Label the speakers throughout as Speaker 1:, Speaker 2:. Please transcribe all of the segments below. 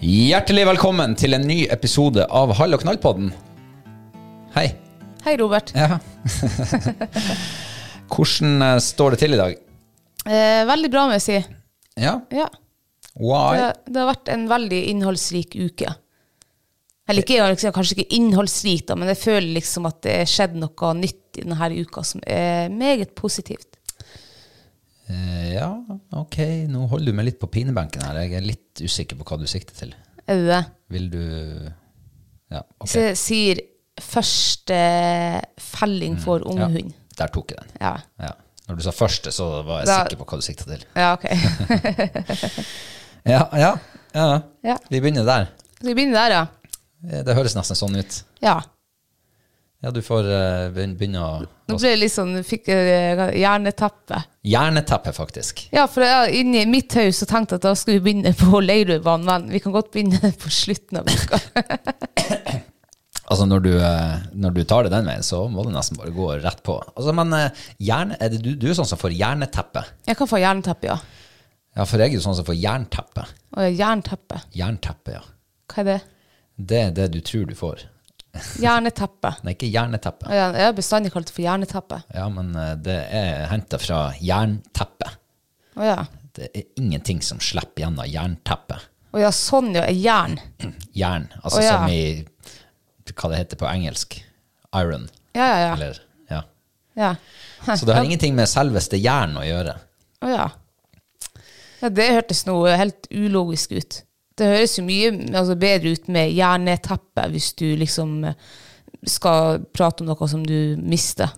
Speaker 1: Hjertelig velkommen til en ny episode av Hall og knall-podden. Hei.
Speaker 2: Hei, Robert.
Speaker 1: Ja. Hvordan eh, står det til i dag?
Speaker 2: Eh, veldig bra, må jeg si.
Speaker 1: Ja.
Speaker 2: Ja. Det,
Speaker 1: Why?
Speaker 2: det har vært en veldig innholdsrik uke. Eller ikke, liksom, kanskje ikke innholdsrik, da, men jeg føler liksom at det er skjedd noe nytt i denne uka som er meget positivt.
Speaker 1: Eh, Ja, ok. Nå holder du meg litt på pinebenken her. Jeg er litt usikker på hva du sikter til.
Speaker 2: Er det det?
Speaker 1: Vil du Ja, ok.
Speaker 2: Hvis jeg sier første felling for
Speaker 1: Mm, Ja,
Speaker 2: unghund.
Speaker 1: der tok jeg den.
Speaker 2: Ja.
Speaker 1: Ja. Når du sa første, så var jeg
Speaker 2: Da-
Speaker 1: sikker på hva du sikta til.
Speaker 2: ja, ok.
Speaker 1: Ja, ja, ja.
Speaker 2: Ja.
Speaker 1: Vi begynner der.
Speaker 2: Skal vi begynne der, ja?
Speaker 1: Eh, Det høres nesten sånn ut.
Speaker 2: Ja.
Speaker 1: Ja, du får eh, begyn- begynne å
Speaker 2: Nå ble jeg litt sånn, fikk jeg hjerneteppe.
Speaker 1: Hjerneteppe, faktisk.
Speaker 2: Ja, for jeg, inni mitt hus så tenkte jeg at da skal vi begynne på Leirudbanen, men vi kan godt begynne på slutten av uka.
Speaker 1: Altså når du, eh, når du tar det den veien, så må du nesten bare gå rett på. Altså, men eh, hjerne, er det du, du er sånn som får jernteppe.
Speaker 2: Jeg kan få jernteppe, ja.
Speaker 1: Ja, for jeg er jo sånn som får jernteppe.
Speaker 2: Og jernteppe.
Speaker 1: Jernteppe, ja.
Speaker 2: Hva er det?
Speaker 1: Det er det du tror du får.
Speaker 2: Jerneteppe.
Speaker 1: Nei, ikke jerneteppe.
Speaker 2: Og Jeg jeg har bestandig kalt det for jerneteppe.
Speaker 1: Ja, men eh, det er henta fra jernteppe.
Speaker 2: Å ja.
Speaker 1: Det er ingenting som slipper gjennom jernteppe.
Speaker 2: Å ja, sånn ja. er Jern.
Speaker 1: Jern, altså
Speaker 2: Å, ja.
Speaker 1: som i hva det heter på engelsk. Iron.
Speaker 2: Ja, ja, ja.
Speaker 1: Eller, ja.
Speaker 2: ja.
Speaker 1: Så det har ingenting med selveste jern å gjøre.
Speaker 2: Å ja. ja. Det hørtes noe helt ulogisk ut. Det høres jo mye altså, bedre ut med jerneteppe hvis du liksom eh, skal prate om noe som du mister.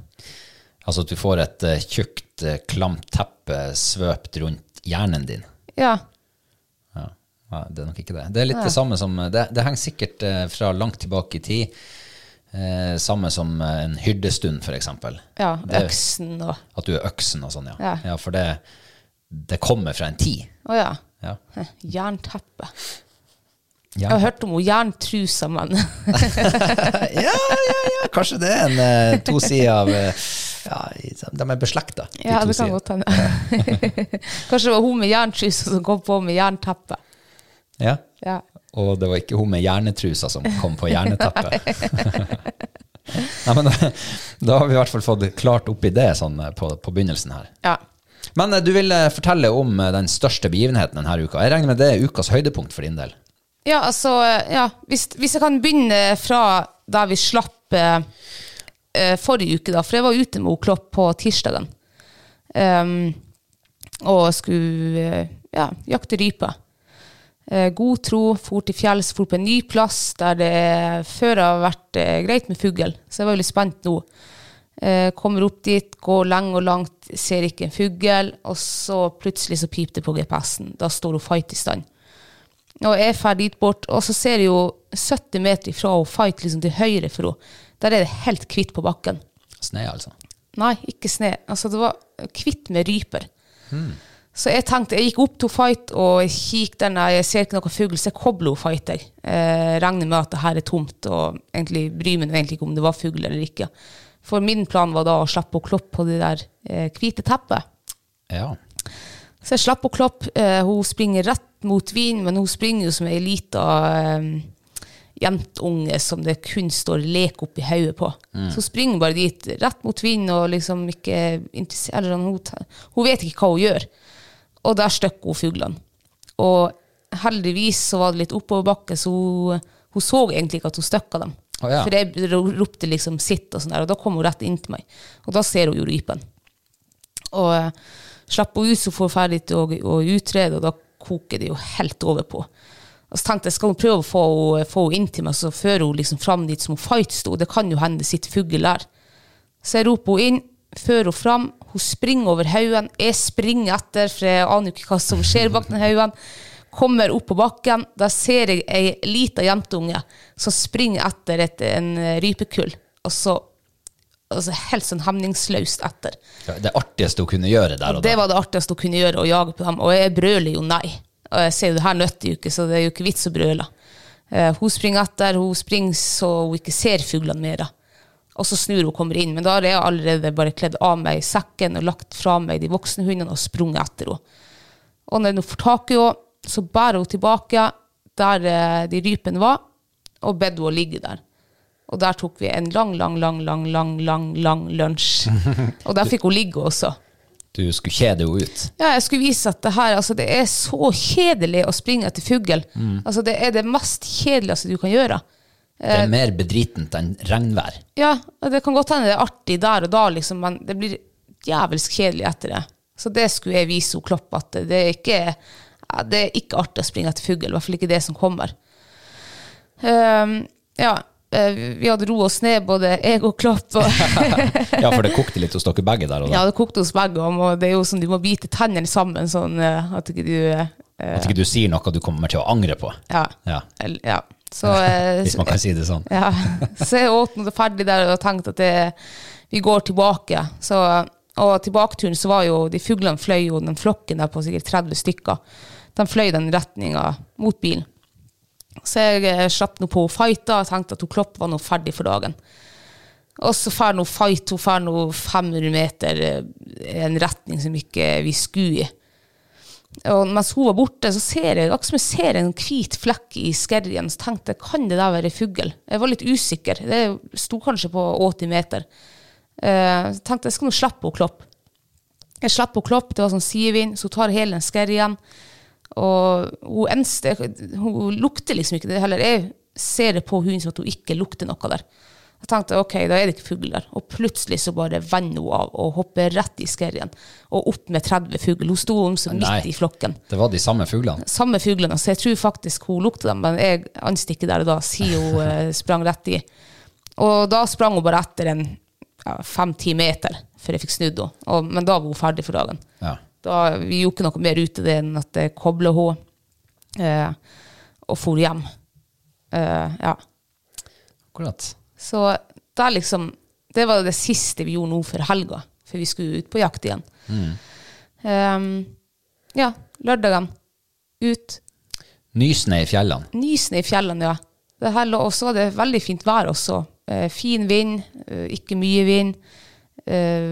Speaker 1: Altså at du får et eh, tjukt, eh, klamt teppe svøpt rundt hjernen din.
Speaker 2: Ja.
Speaker 1: Ja. ja, det er nok ikke det. Det er litt det samme som eh, Det, det henger sikkert eh, fra langt tilbake i tid. Eh, samme som eh, en hyrdestund, for eksempel.
Speaker 2: ja.
Speaker 1: Det-
Speaker 2: Øksen og
Speaker 1: At du er øksen og sånn, ja.
Speaker 2: Ja.
Speaker 1: for det, det kommer fra en tid.
Speaker 2: Å ja.
Speaker 1: Ja.
Speaker 2: Heh, Jernteppe. Jeg har
Speaker 1: Jern-
Speaker 2: hørt om hun jerntrusa, men
Speaker 1: ja, ja, ja, kanskje det er en eh, to sider av eh, ja, De er beslekta. de
Speaker 2: Ja,
Speaker 1: to
Speaker 2: det kan
Speaker 1: sidene.
Speaker 2: godt hende. Kanskje det var hun med jerntrusa som kom på med jernteppe.
Speaker 1: Ja.
Speaker 2: Ja.
Speaker 1: Og det var ikke hun med hjernetrusa som kom på hjerneteppet. Nei, men da, da har vi i hvert fall fått klart opp i det sånn, eh, på, på begynnelsen her.
Speaker 2: ja.
Speaker 1: Men eh, du ville fortelle om eh, den største begivenheten denne uka. Jeg regner med det er ukas høydepunkt for din del.
Speaker 2: ja altså ja. Hvis, hvis jeg kan begynne fra der vi slapp eh, eh, forrige uke, da. For jeg var ute med hun Klopp på tirsdagen. Ehm, og skulle eh, ja, jakte rype. Eh, God tro, for til fjells, for på en ny plass der det før har vært eh, greit med fugl. Så jeg var veldig spent nå. Eh, Kommer opp dit, går lenge og langt, ser ikke en fugl, og så plutselig så piper det på GPS-en. Da står hun fight i stand. Og jeg drar dit bort, og så ser jeg jo 70 meter ifra henne fight liksom til høyre for henne. Der er det helt hvitt på bakken.
Speaker 1: Snø, altså.
Speaker 2: Nei, ikke sne. Altså, det var kvitt med ryper. Så jeg tenkte, jeg gikk opp til fight og jeg kikket den, jeg ser ikke noen fugl, så jeg kobler henne fight. Jeg eh, regner med at det her er tomt, og egentlig bryr meg nå egentlig ikke om det var fugl eller ikke. For min plan var da å slippe å kloppe på det der eh, hvite teppet.
Speaker 1: Ja.
Speaker 2: Så jeg slapp å kloppe. Eh, hun springer rett mot vinen, men hun springer jo som ei lita eh, jentunge som det kun står lek oppi hodet på.
Speaker 1: Mm.
Speaker 2: Så hun springer bare dit, rett mot vinen, og liksom ikke interessert eller sånn, hun, te- hun vet ikke hva hun gjør. Og der støkk hun fuglene. Og heldigvis så var det litt oppoverbakke, så hun, hun så egentlig ikke at hun støkka dem.
Speaker 1: Å, ja.
Speaker 2: For jeg ro- ropte liksom 'sitt' og sånn der, og da kom hun rett inn til meg. Og da ser hun jo rypen. Og eh, slapp henne ut, så får hun ferdig til å, å utrede, og da koker det jo helt over på. Og så tenkte jeg, skal hun prøve å få henne få henne inn til meg, så fører hun liksom fram dit som hun fight sto. Det kan jo hende det sitter fugl der. Så jeg roper henne inn, fører henne fram. Hun springer over haugen. Jeg springer etter, for jeg aner jo ikke hva som skjer bak den haugen. Kommer opp på bakken. Da ser jeg ei lita jentunge som springer etter et, en rypekull. Og så altså helt sånn hemningsløst etter.
Speaker 1: Det artigste hun kunne gjøre der og
Speaker 2: Det
Speaker 1: da.
Speaker 2: var det artigste hun kunne gjøre, å jage på dem. Og jeg brøler jo nei. Og jeg ser jo det her nytter jo ikke, så det er jo ikke vits å brøle. Eh, hun springer etter, hun springer så hun ikke ser fuglene mer. Og så snur hun og kommer inn, men da har jeg allerede bare kledd av meg sekken og lagt fra meg de voksne hundene og sprunget etter henne. Og når hun får tak i henne, så bærer hun tilbake der eh, de rypene var, og bedt henne å ligge der. Og der tok vi en lang, lang, lang, lang, lang, lang, lang lunsj. Og der fikk hun ligge også.
Speaker 1: Du skulle kjede henne ut.
Speaker 2: Ja, jeg skulle vise at det her altså, Det er så kjedelig å springe etter fugl. Altså, det er det mest kjedeligste du kan gjøre.
Speaker 1: Det
Speaker 2: Eh.
Speaker 1: er mer bedritent enn regnvær.
Speaker 2: Ja, og det kan godt hende det er artig der og da, liksom, men det blir jævelsk kjedelig etter det. Så det skulle jeg vise henne Klopp, at det er ikke, ja, det er ikke artig å springe etter fugl. I hvert fall ikke det som kommer. Ehm, ja, eh, vi hadde roet oss ned, både jeg og Klopp. Og
Speaker 1: Ja, for det kokte litt hos dere begge der og da.
Speaker 2: ja, det kokte hos begge om, og det er jo sånn du må bite tennene sammen sånn eh, at ikke du eh,
Speaker 1: At ikke du sier noe du kommer til å angre på.
Speaker 2: Ja.
Speaker 1: Ja.
Speaker 2: Eller- ja. Så, eh,
Speaker 1: Hvis man kan si det sånn.
Speaker 2: ja. så jeg åt noe ferdig der og tenkte at det, vi går tilbake. Så, og tilbaketuren så var jo de fuglene fløy jo den flokken der på sikkert 30 stykker. De fløy den retninga mot bilen. Så jeg eh, slapp nå på å fighte og tenkte at hun Klopp var nå ferdig for dagen. Og så får hun fight, hun får nå 500 meter eh, i en retning som ikke vi skulle i. Og mens hun var borte, så ser jeg akkurat som jeg ser en hvit flekk i skerrien. Så tenkte jeg, kan det der være fugl? Jeg var litt usikker. Det sto kanskje på 80 meter. Eh, Så tenkte jeg, jeg skal nå slippe henne klopp. Jeg slipper henne klopp, det var sånn sidevind, så hun tar hele den skerrien. Og hun, enste, hun lukter liksom ikke det heller. Jeg ser det på hunden som at hun ikke lukter noe der. Jeg tenkte ok, da er det ikke fugl der. Og plutselig så bare vender hun av og hopper rett i skerrien. Og opp med 30 fugl. Hun sto om som
Speaker 1: Nei.
Speaker 2: midt i flokken.
Speaker 1: Det var de samme fuglene.
Speaker 2: Samme fuglene, så jeg tror faktisk hun lukta dem, men jeg anste ikke der og da, siden hun eh, sprang rett i. Og da sprang hun bare etter en ja, fem-ti meter, før jeg fikk snudd henne. Og- Men da var hun ferdig for dagen.
Speaker 1: Ja.
Speaker 2: Da, vi gjorde ikke noe mer ut av det enn at jeg koblet henne eh, og for hjem. Eh, ja.
Speaker 1: Akkurat.
Speaker 2: Så det, er liksom, det var det siste vi gjorde nå for helga, for vi skulle ut på jakt igjen. Eh, ja, lørdagen. Ut.
Speaker 1: Nysnø i fjellene.
Speaker 2: Nysnø i fjellene, ja. Det her, lå- og så var det veldig fint vær også. Eh, fin vind, eh, ikke mye vind. Eh,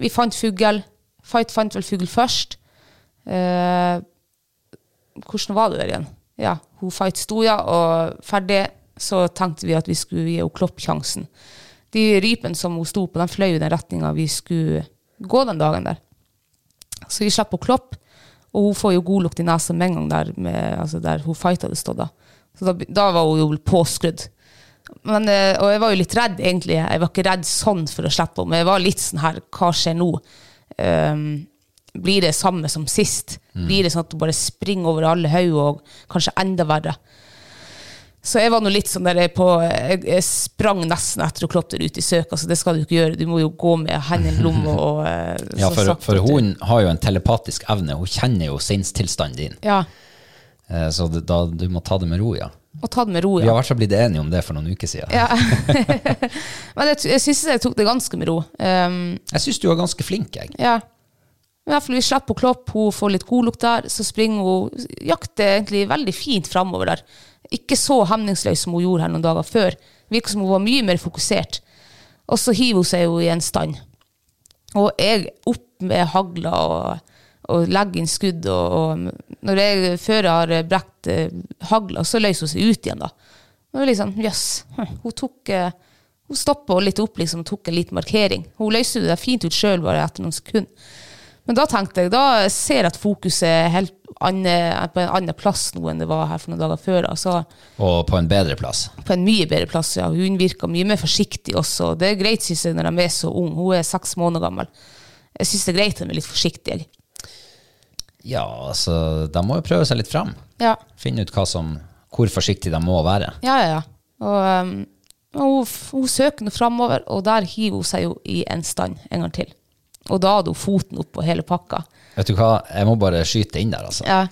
Speaker 2: vi fant fugl. Fight fant vel fugl først. Eh, hvordan var det der igjen? Ja, hun Fight sto, ja, og ferdig så tenkte vi at vi skulle gi henne kloppsjansen. De rypene som hun sto på, den fløy i den retninga vi skulle gå den dagen der. Så vi slapp henne klopp, og hun får jo god lukt i nesa med en gang der, med, altså der hun fight hadde stått. Da. Så da, da var hun jo påskrudd. Men, eh, og jeg var jo litt redd, egentlig. Jeg var ikke redd sånn for å slippe henne, men jeg var litt sånn her, hva skjer nå? Ehm, blir det samme som sist.
Speaker 1: Mm.
Speaker 2: Blir det sånn at du bare springer over alle hauger, og kanskje enda verre. Så jeg var nå litt sånn der jeg på Jeg jeg sprang nesten etter å klatre ut i søk. Altså, det skal du ikke gjøre. Du må jo gå med hendene i lomma og eh,
Speaker 1: Ja,
Speaker 2: så
Speaker 1: for,
Speaker 2: sakte
Speaker 1: for
Speaker 2: at du-
Speaker 1: hun har jo en telepatisk evne. Hun kjenner jo sinnstilstanden din.
Speaker 2: Ja.
Speaker 1: Eh, Så det- da, du må ta det med ro, ja.
Speaker 2: Og ta det med ro,
Speaker 1: Vi har i
Speaker 2: ja.
Speaker 1: hvert fall blitt enige om det for noen uker siden.
Speaker 2: ja. Men jeg, t- jeg syns jeg tok det ganske med ro. Um,
Speaker 1: Jeg syns du var ganske flink, jeg.
Speaker 2: Ja. Men i hvert fall vi slapp henne klopp, hun får litt godlukt der, så springer hun Jakter egentlig veldig fint framover der. Ikke så hemningsløs som hun gjorde her noen dager før. Virker som hun var mye mer fokusert. Og så hiver hun seg jo i en stand. Og jeg opp med hagla og, og legger inn skudd. Og, og når jeg før jeg har brekt eh, hagla, så løser hun seg ut igjen, da. Og det var liksom, jøss, hm, hun tok eh, hun stoppa litt opp liksom, og tok en liten markering. Hun løste det fint ut sjøl bare etter noen sekunder. Men da tenkte jeg, da ser jeg at fokuset er helt anne, på en annen plass nå enn det var her for noen dager før. Da. Så
Speaker 1: Og på en bedre plass.
Speaker 2: på en mye bedre plass. Ja. Hun virker mye mer forsiktig også. Det er greit, synes jeg, når de er så unge. Hun er seks måneder gammel. Jeg syns det er greit at de er litt forsiktige.
Speaker 1: Ja, altså, de må jo prøve seg litt fram.
Speaker 2: Ja.
Speaker 1: Finne ut hva som, hvor forsiktig de må være.
Speaker 2: Ja, ja, ja. Og, um, og hun, f- hun søker nå framover, og der hiver hun seg jo i en stand en gang til. Og da hadde hun foten opp på hele pakka.
Speaker 1: Vet du hva, jeg må bare skyte inn der, altså.
Speaker 2: Ja.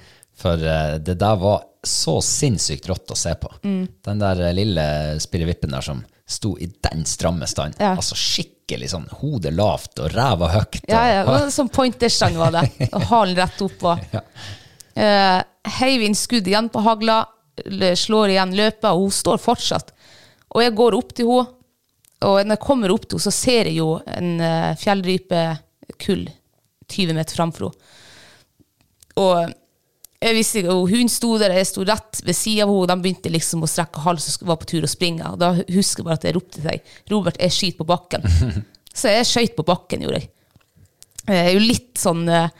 Speaker 1: For eh, det der var så sinnssykt rått å se på.
Speaker 2: Mm.
Speaker 1: Den der eh, lille spirrevippen der som sto i den stramme stand.
Speaker 2: Ja.
Speaker 1: Altså skikkelig sånn hodet lavt og ræva høyt.
Speaker 2: Ja, ja.
Speaker 1: og-
Speaker 2: det var Sånn pointerstang var det. Og halen rett opp var.
Speaker 1: Ja.
Speaker 2: Eh, heiv inn skudd igjen på hagla, l- slår igjen løpet, og hun står fortsatt. Og jeg går opp til henne, og når jeg kommer opp til henne, så ser jeg jo en eh, fjellrypekull 20 meter framfor henne. Og jeg visste ikke, og hun sto der, jeg sto rett ved siden av henne, og de begynte liksom å strekke hals og sk- var på tur å springe. Og da husker jeg bare at jeg ropte til deg, Robert, jeg skyter på bakken. så jeg skjøt på bakken, gjorde jeg. Jeg er jo litt sånn eh,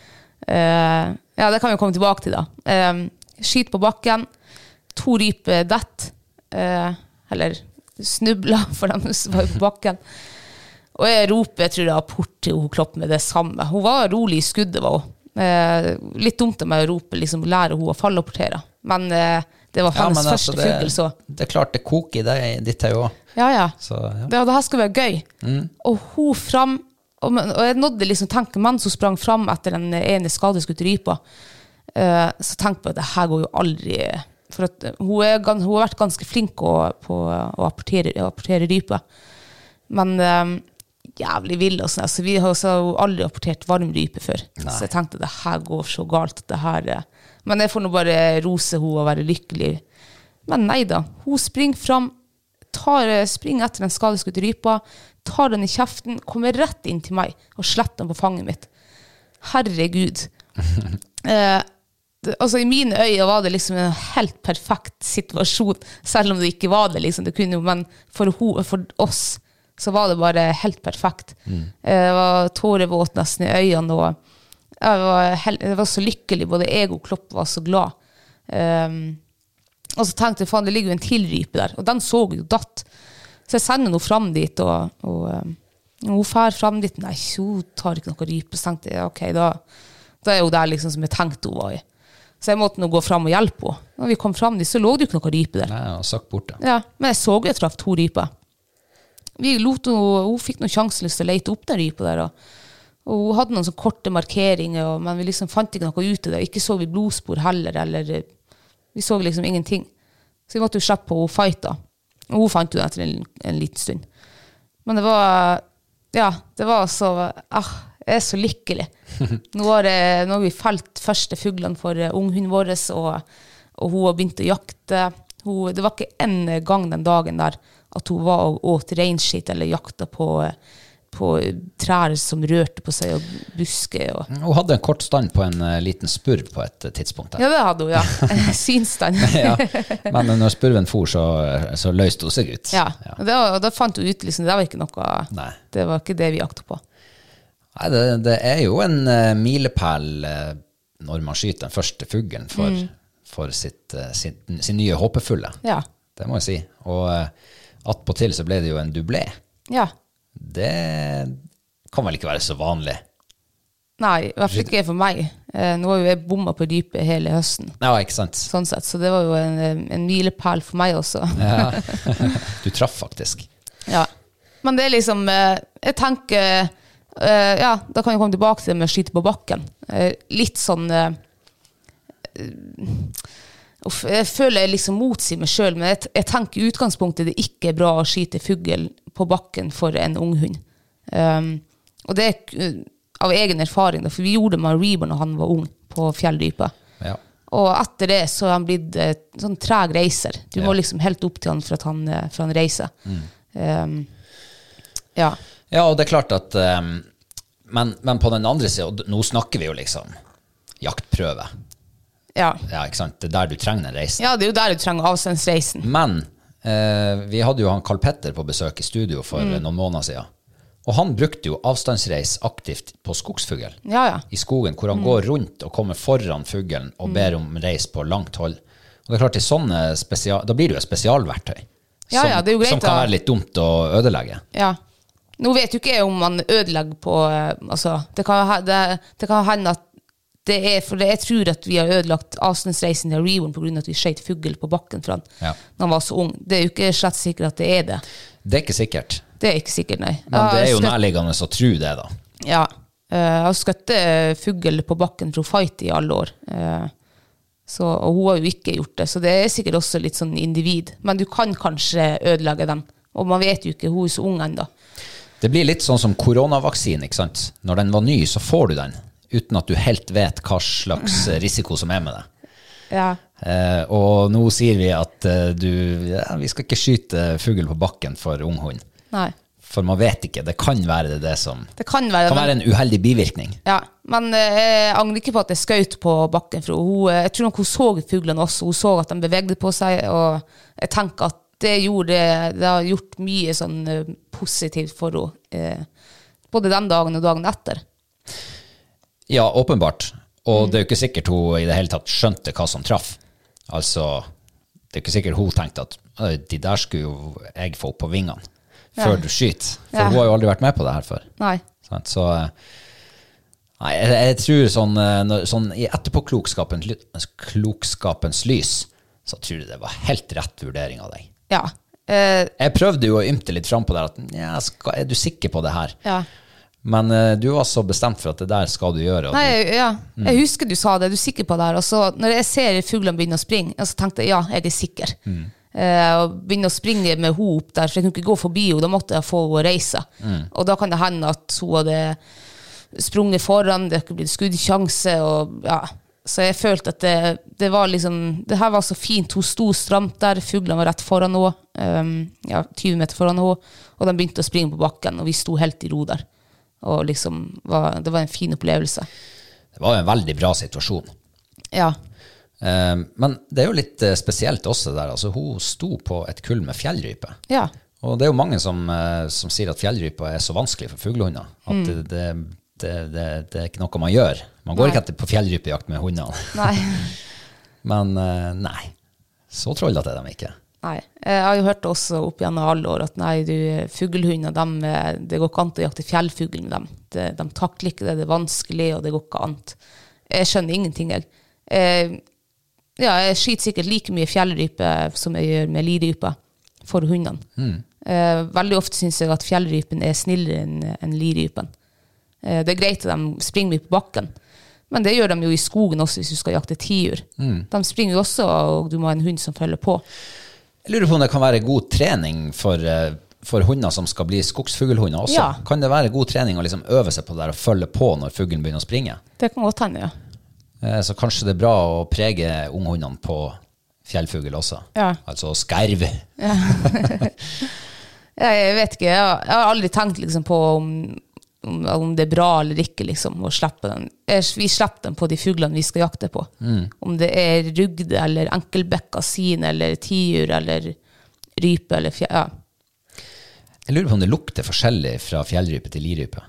Speaker 2: eh, Ja, det kan vi komme tilbake til, da. Eh, skyt på bakken. To ryper detter. eh, eller snubler, for de var jo på bakken. Og jeg roper jeg tror det er apport til hun Klopp med det samme. Hun var rolig i skuddet, var hun. Eh, litt dumt av meg å rope liksom, lære hun å fallrapportere, men eh, det var
Speaker 1: Ja,
Speaker 2: hennes
Speaker 1: men altså,
Speaker 2: første fugl, så
Speaker 1: det, det er klart det koker i deg, ditt her òg.
Speaker 2: ja, ja.
Speaker 1: Så, ja.
Speaker 2: Det, det her skal være gøy. Og hun fram og, men- og jeg nådde liksom tanken mens hun sprang fram etter den ene skadeskutte rypa. eh, så tenkte jeg at det her går jo aldri For at eh, hun, er, gan- hun har vært ganske flink å, på å apportere, å apportere rype. Men eh, jævlig vill. Og sånn, altså, vi har også aldri apportert varm rype før. Så jeg tenkte det her går så galt. at Det her, eh. men jeg får nå bare rose henne og være lykkelig. Men nei da. Hun springer fram, tar, eh, springer etter den skadeskutte rypa, tar den i kjeften, kommer rett inn til meg og slipper den på fanget mitt. Herregud. Eh, det, altså I mine øyne var det liksom en helt perfekt situasjon, selv om det ikke var det. liksom, det kunne jo, Men for, ho, for oss så var det bare helt perfekt. Eh, Jeg var tårevåt nesten i øynene. og jeg var, hel, jeg var så lykkelig. Både jeg og Klopp var så glad. Ehm, og så tenkte jeg faen, det ligger jo en til rype der, og den så jo datt. Så jeg sender henne fram dit, og, og ehm, hun drar fram dit. Nei, hun tar ikke noe rype. Så tenkte jeg ok, da, da er hun der liksom som jeg tenkte hun var i. Så jeg måtte nå gå fram og hjelpe henne. Når vi kom fram dit, så lå det jo ikke noe rype der.
Speaker 1: Nei, og søkk bort, ja.
Speaker 2: Ja, men jeg så jo jeg traff to ryper. Vi lot henne, hun fikk noen sjansen lyst til å lete opp den rypa der. Og, og hun hadde noen sånne korte markeringer, og, men vi liksom fant ikke noe ut av det. Ikke så vi blodspor heller, eller eh, Vi så liksom ingenting. Så vi måtte jo slippe henne fight, da. Og hun fant jo den etter en, en liten stund. Men det var Ja, det var så ah, Jeg er så lykkelig. Nå har, det- nå har vi felt første fuglene for eh, unghunden vår, og, og hun har begynt å jakte. Hun, det var ikke én gang den dagen der at hun var og åt reinskitt eller jakta på, eh, på trær som rørte på seg, og busker. Og.
Speaker 1: Hun hadde en kort stand på en eh, liten spurv på et eh, tidspunkt. der.
Speaker 2: Ja, det hadde hun, ja. Synsstand.
Speaker 1: Ja. Men eh, når spurven for, så, eh, så løste hun seg ut.
Speaker 2: Ja.
Speaker 1: Ja.
Speaker 2: Og, det, var- og da fant hun ut liksom, det var ikke noe
Speaker 1: Nei.
Speaker 2: Det var ikke det vi jakta på.
Speaker 1: Nei, det, det er jo en eh, milepæl eh, når man skyter den første fuglen for, for sitt, eh, sin, sin nye håpefulle.
Speaker 2: Ja.
Speaker 1: Det må jeg si. Og eh, attpåtil så ble det jo en dublé.
Speaker 2: ja.
Speaker 1: Det kan vel ikke være så vanlig?
Speaker 2: Nei, i hvert fall ikke for meg. Eh, Nå har jo jeg bomma på dypet hele høsten,
Speaker 1: Ja, ikke sant?
Speaker 2: sånn sett. Så det var jo en, eh, en milepæl for meg også.
Speaker 1: Ja. Du traff faktisk.
Speaker 2: Ja. Men det er liksom eh, Jeg tenker eh, Ja, da kan jeg komme tilbake til det med å skyte på bakken. Eh, Litt sånn eh, eh, Uff, jeg føler jeg liksom motsier meg sjøl, men jeg, t- jeg tenker i utgangspunktet det ikke er bra å skyte fugl på bakken for en unghund. Um, og det er k- eh, av egen erfaring, da, for vi gjorde det med Reaver når han var ung, på fjelldypet.
Speaker 1: Ja.
Speaker 2: Og etter det så er han blitt eh, sånn treg reiser. Du
Speaker 1: Ja. Mm.
Speaker 2: må liksom helt opp til han for at han, eh, for han reiser. Um, ja.
Speaker 1: Ja, og det er klart at ehm, men, men på den andre sida, nå snakker vi jo liksom jaktprøve.
Speaker 2: ja.
Speaker 1: Ja, ikke sant? Det er der du trenger den reisen.
Speaker 2: Ja, det er jo der du trenger avstandsreisen.
Speaker 1: Men eh, vi hadde jo han Carl Petter på besøk i studio for
Speaker 2: Mm.
Speaker 1: eh, noen måneder siden. Og han brukte jo avstandsreis aktivt på skogsfugl.
Speaker 2: Ja, ja.
Speaker 1: I skogen, hvor
Speaker 2: Mm.
Speaker 1: han går rundt og kommer foran fuglen og ber om reis på langt hold. Og det er klart, i sånne spesia- Da blir det jo et spesialverktøy.
Speaker 2: Ja,
Speaker 1: som,
Speaker 2: ja, det er jo greit
Speaker 1: som kan
Speaker 2: å-
Speaker 1: være litt dumt å ødelegge.
Speaker 2: Ja. Nå vet jo ikke jeg om man ødelegger på eh, Altså, det kan, ha- det, det kan hende at det er For jeg tror at vi har ødelagt avstandsreisen til Reborn pga. at vi skjøt fugl på bakken for han
Speaker 1: Ja.
Speaker 2: når han var så ung. Det er jo ikke slett sikkert at det er det.
Speaker 1: Det er ikke sikkert.
Speaker 2: Det er ikke sikkert, nei.
Speaker 1: Men det er jo
Speaker 2: Jeg har
Speaker 1: nærliggende å tro det, da.
Speaker 2: skutt- Ja. Eh, Jeg har skutt eh, fugl på bakken fra Fight i alle år. Eh, Så, og hun har jo ikke gjort det, så det er sikkert også litt sånn individ. Men du kan kanskje ødelegge den. Og man vet jo ikke, hun er så ung ennå.
Speaker 1: Det blir litt sånn som koronavaksinen, ikke sant. Når den var ny, så får du den uten at du helt vet hva slags risiko som er med det.
Speaker 2: Ja.
Speaker 1: Eh, og nå sier vi at eh, du ja, Vi skal ikke skyte fugl på bakken for ung hund.
Speaker 2: Nei.
Speaker 1: For man vet ikke. Det kan være det, det som
Speaker 2: Det kan være,
Speaker 1: kan
Speaker 2: men-
Speaker 1: være en uheldig bivirkning.
Speaker 2: Ja, men eh, jeg angrer ikke på at jeg skjøt på bakken. For hun, eh, jeg tror nok hun så fuglene også. Hun så at de bevegde på seg. Og jeg tenker at det, gjorde, det har gjort mye sånn eh, positivt for henne. Eh, både den dagen og dagen etter.
Speaker 1: Ja, åpenbart. Og
Speaker 2: Mm.
Speaker 1: det er jo ikke sikkert hun i det hele tatt skjønte hva som traff. Altså, det er ikke sikkert hun tenkte at «Øy, de der skulle jo jeg få opp på vingene før du skyter. For
Speaker 2: Ja.
Speaker 1: hun har jo aldri vært med på det her før.
Speaker 2: Nei.
Speaker 1: Sant? Så eh, Nei, jeg, jeg tror sånn, eh, når- sånn i etterpåklokskapens ly- klokskapens lys, så tror jeg det var helt rett vurdering av deg.
Speaker 2: Ja. Eh,
Speaker 1: Jeg prøvde jo å ymte litt fram på det, her, at «Nja, skal, er du sikker på det her?
Speaker 2: ja.
Speaker 1: Men eh, du var så bestemt for at det der skal du gjøre. Og
Speaker 2: Nei,
Speaker 1: du,
Speaker 2: ja. Jeg husker du sa det, er du sikker på det her? Og så når jeg ser fuglene begynne å springe, så tenkte jeg ja, jeg er sikker. Eh, og begynne å springe med henne opp der, for jeg kunne ikke gå forbi henne, da måtte jeg få henne å reise. Og da kan det hende at hun hadde sprunget foran, det har ikke blitt skuddsjanse, og ja. Så jeg følte at det, det var liksom Det her var så fint. Hun sto stramt der, fuglene var rett foran henne, ehm, ja, 20 meter foran henne, og de begynte å springe på bakken, og vi sto helt i ro der. Og liksom var, Det var en fin opplevelse.
Speaker 1: det var jo en veldig bra situasjon.
Speaker 2: Ja.
Speaker 1: Eh, men det er jo litt eh, spesielt også det der. Altså, hun sto på et kull med fjellrype.
Speaker 2: Ja.
Speaker 1: Og det er jo mange som, eh, som sier at fjellrypa er så vanskelig for fuglehunder at
Speaker 2: Mm.
Speaker 1: det, det, det, det, det er ikke noe man gjør. Man går
Speaker 2: Nei.
Speaker 1: ikke etter på fjellrypejakt med hundene.
Speaker 2: Nei.
Speaker 1: Men eh, nei, så trollete er de ikke.
Speaker 2: Nei. Eh, Jeg har jo hørt også opp gjennom alle år at nei, du, fuglhunder, dem, eh, det går ikke an å jakte fjellfugl med dem. De, de takler ikke det, det er vanskelig, og det går ikke an. Jeg skjønner ingenting, jeg. Eh, ja, jeg skyter sikkert like mye fjellrype som jeg gjør med lirype for hundene. Eh, veldig ofte syns jeg at fjellrypen er snillere enn enn lirypen. Eh, det er greit at de springer mye på bakken, men det gjør de jo i skogen også hvis du skal jakte tiur. De springer jo også, og du må ha en hund som følger på.
Speaker 1: Jeg lurer på om det kan være god trening for, eh, for hunder som skal bli skogsfuglhunder også.
Speaker 2: Ja.
Speaker 1: Kan det være god trening å liksom øve seg på det der og følge på når fuglen begynner å springe?
Speaker 2: Det kan godt hende, ja.
Speaker 1: Eh, Så kanskje det er bra å prege unghundene på fjellfugl også.
Speaker 2: Ja.
Speaker 1: Altså skerv.
Speaker 2: Jeg, jeg vet ikke, jeg har, jeg har aldri tenkt liksom på om, om, om det er bra eller ikke liksom, å slippe den. Eh, Vi slipper den på de fuglene vi skal jakte på. Om det er rugde eller enkelbekka sin eller tiur eller rype eller fje... Ja.
Speaker 1: Jeg lurer på om det lukter forskjellig fra fjellrype til lirype.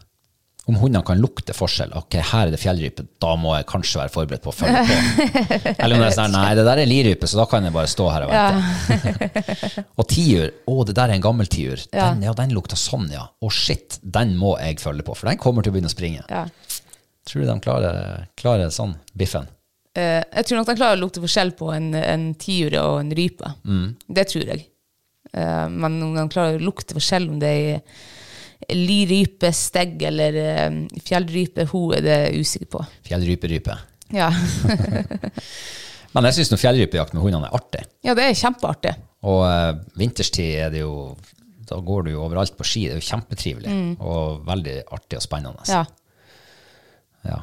Speaker 1: Om hundene kan lukte forskjell. Ok, her er det fjellrype, da må jeg kanskje være forberedt på å følge på. Eller om det er sånn, nei, det der er lirype, så da kan jeg bare stå her og vente. og tiur, å, det der er en gammel tiur.
Speaker 2: Ja.
Speaker 1: Den, ja, den lukter sånn, ja. Å, shit, den må jeg følge på, for den kommer til å begynne å springe.
Speaker 2: Ja.
Speaker 1: Tror du de klarer, klarer sånn, biffen?
Speaker 2: Eh, jeg tror nok de klarer å lukte forskjell på en, en tiur og en rype. Det tror jeg. Eh, men om de klarer å lukte forskjell om det er lirype, stegg eller eh, fjellrype, hun er det jeg usikker på.
Speaker 1: Fjellryperype.
Speaker 2: Ja.
Speaker 1: Men jeg syns fjellrypejakt med hundene er artig.
Speaker 2: ja, det er kjempeartig.
Speaker 1: Og eh, vinterstid er det jo Da går du jo overalt på ski. Det er jo kjempetrivelig og veldig artig og spennende.
Speaker 2: Mm. Ja.
Speaker 1: Ja.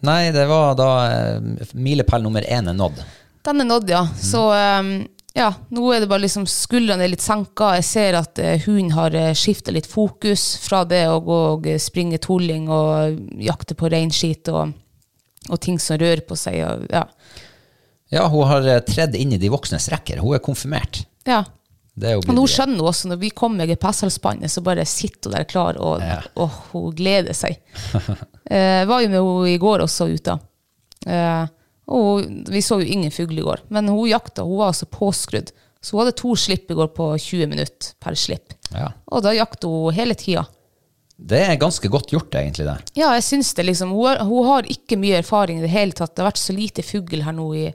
Speaker 1: Nei, det var da eh, milepæl nummer én er nådd.
Speaker 2: Den er nådd, ja. Så eh, ja, nå er det bare liksom skuldrene er litt senka. Jeg ser at eh, hunden har skifta litt fokus fra det å gå og eh, springe tolling og jakte på reinskit og, og ting som rører på seg. Og, ja.
Speaker 1: Ja, hun har eh, tredd inn i de voksnes rekker. Hun er konfirmert.
Speaker 2: ja.
Speaker 1: Det er jo
Speaker 2: Og nå
Speaker 1: blitt-
Speaker 2: skjønner hun også, når vi kommer med GPS-halsbåndet, så bare sitter hun der klar, og, og hun gleder seg. Jeg var jo med henne i går også ute. Eh, og vi så jo ingen fugl i går, men hun jakta, hun var altså påskrudd. Så hun hadde to slipp i går på 20 minutter per slipp.
Speaker 1: ja.
Speaker 2: Og da jakter hun hele tida.
Speaker 1: Det er ganske godt gjort, egentlig, det.
Speaker 2: Ja, jeg syns det, liksom. Hun, har- hun har ikke mye erfaring i det hele tatt. Det har vært så lite fugl her nå i,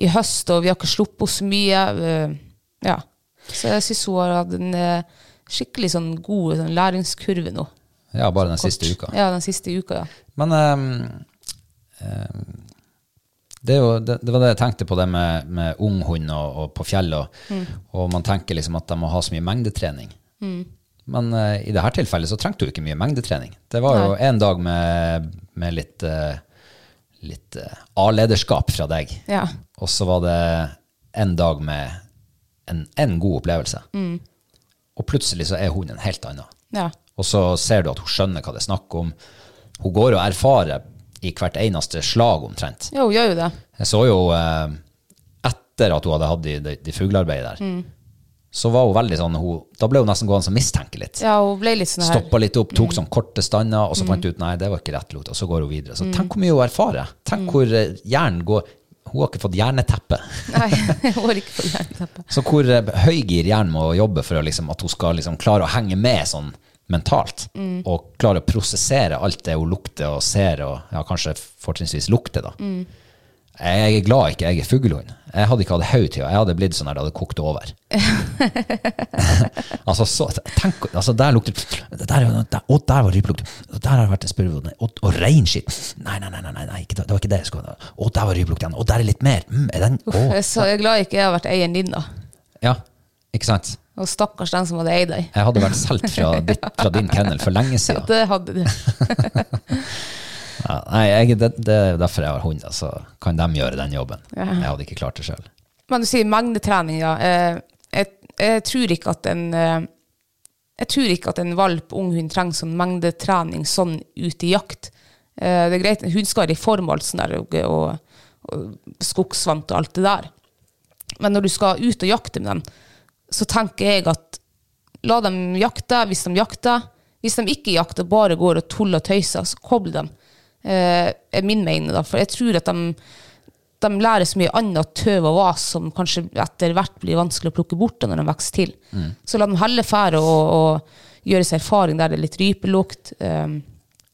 Speaker 2: i høst, og vi har ikke sluppet henne så mye. eh, Ja. Så jeg syns hun har hatt en eh, skikkelig sånn god sånn læringskurve nå.
Speaker 1: Ja, bare den siste uka.
Speaker 2: Ja, den siste uka, ja.
Speaker 1: Men ehm, ehm, det, er jo, det, det var det jeg tenkte på, det med, med ung hund og, og på fjellet. Og, og man tenker liksom at de må ha så mye mengdetrening. Men eh, i dette tilfellet så trengte hun ikke mye mengdetrening. Det var jo en dag med, med litt, eh, litt eh, A-lederskap fra deg.
Speaker 2: Ja.
Speaker 1: Og så var det en dag med en, en god opplevelse. Og plutselig så er hun en helt annen.
Speaker 2: ja.
Speaker 1: Og så ser du at hun skjønner hva det er snakk om. Hun går og erfarer i hvert eneste slag omtrent.
Speaker 2: Ja, hun gjør jo det.
Speaker 1: Jeg så jo eh, etter at hun hadde hatt de, de, de fuglearbeidet der, så var hun veldig sånn hun, Da ble hun nesten gående og mistenke litt.
Speaker 2: Ja, hun ble litt sånn her
Speaker 1: Stoppa litt opp, tok sånn korte stander, og så fant hun ut nei, det var ikke rett lot, og så går hun videre. Så tenk hvor mye hun erfarer. Tenk hvor eh, hjernen går Hun har ikke fått hjerneteppe.
Speaker 2: Nei, hun har ikke fått jernteppe.
Speaker 1: Så hvor eh, høygir hjernen må jobbe for å liksom, at hun skal liksom klare å henge med sånn mentalt, og klare å prosessere alt det hun lukter og ser, og ja, kanskje fortrinnsvis lukter, da. Jeg er glad ikke jeg er fuglehund. Jeg hadde ikke hatt høy til, jeg hadde blitt sånn her det hadde kokt over. altså, så, tenk, altså, der lukter det der, er jo noe- der, Å, der var rypelukt. Og Der har det vært en spurv. Og, og reinskitt. Nei, nei, nei, nei, nei, nei ikke, det det var ikke det jeg skulle ha. Å, der var rypelukt igjen. Å, der er litt mer. Mm, er den,
Speaker 2: Uff,
Speaker 1: å.
Speaker 2: jeg er så jeg er glad ikke jeg har vært eieren din, da.
Speaker 1: Ja, ikke sant?
Speaker 2: Og stakkars den som hadde eid deg.
Speaker 1: Jeg hadde vært solgt fra, ditt- fra din kennel for lenge siden.
Speaker 2: Det hadde du.
Speaker 1: Ja, nei, jeg, det, det er derfor jeg har hund. Altså, kan de gjøre den jobben? Jeg hadde ikke klart det sjøl.
Speaker 2: Men du sier mengdetrening, ja. Eh, Jeg, jeg tror ikke at en eh, jeg tror ikke at en valp, ung hund, trenger sånn mengdetrening sånn ute i jakt. Eh, Det er greit, en hund skal være i form og alt sånt der, og, og, og skogsvant og alt det der. Men når du skal ut og jakte med dem, så tenker jeg at la dem jakte hvis de jakter. Hvis de ikke jakter, bare går og tuller og tøyser, så kobl dem. Eh, er min mening, da. For jeg tror at de, de lærer så mye annet tøv og vas som kanskje etter hvert blir vanskelig å plukke bort da når de vokser til.
Speaker 1: Mm.
Speaker 2: Så la dem heller fære og, og gjøre seg erfaring der det er litt rypelukt. Eh,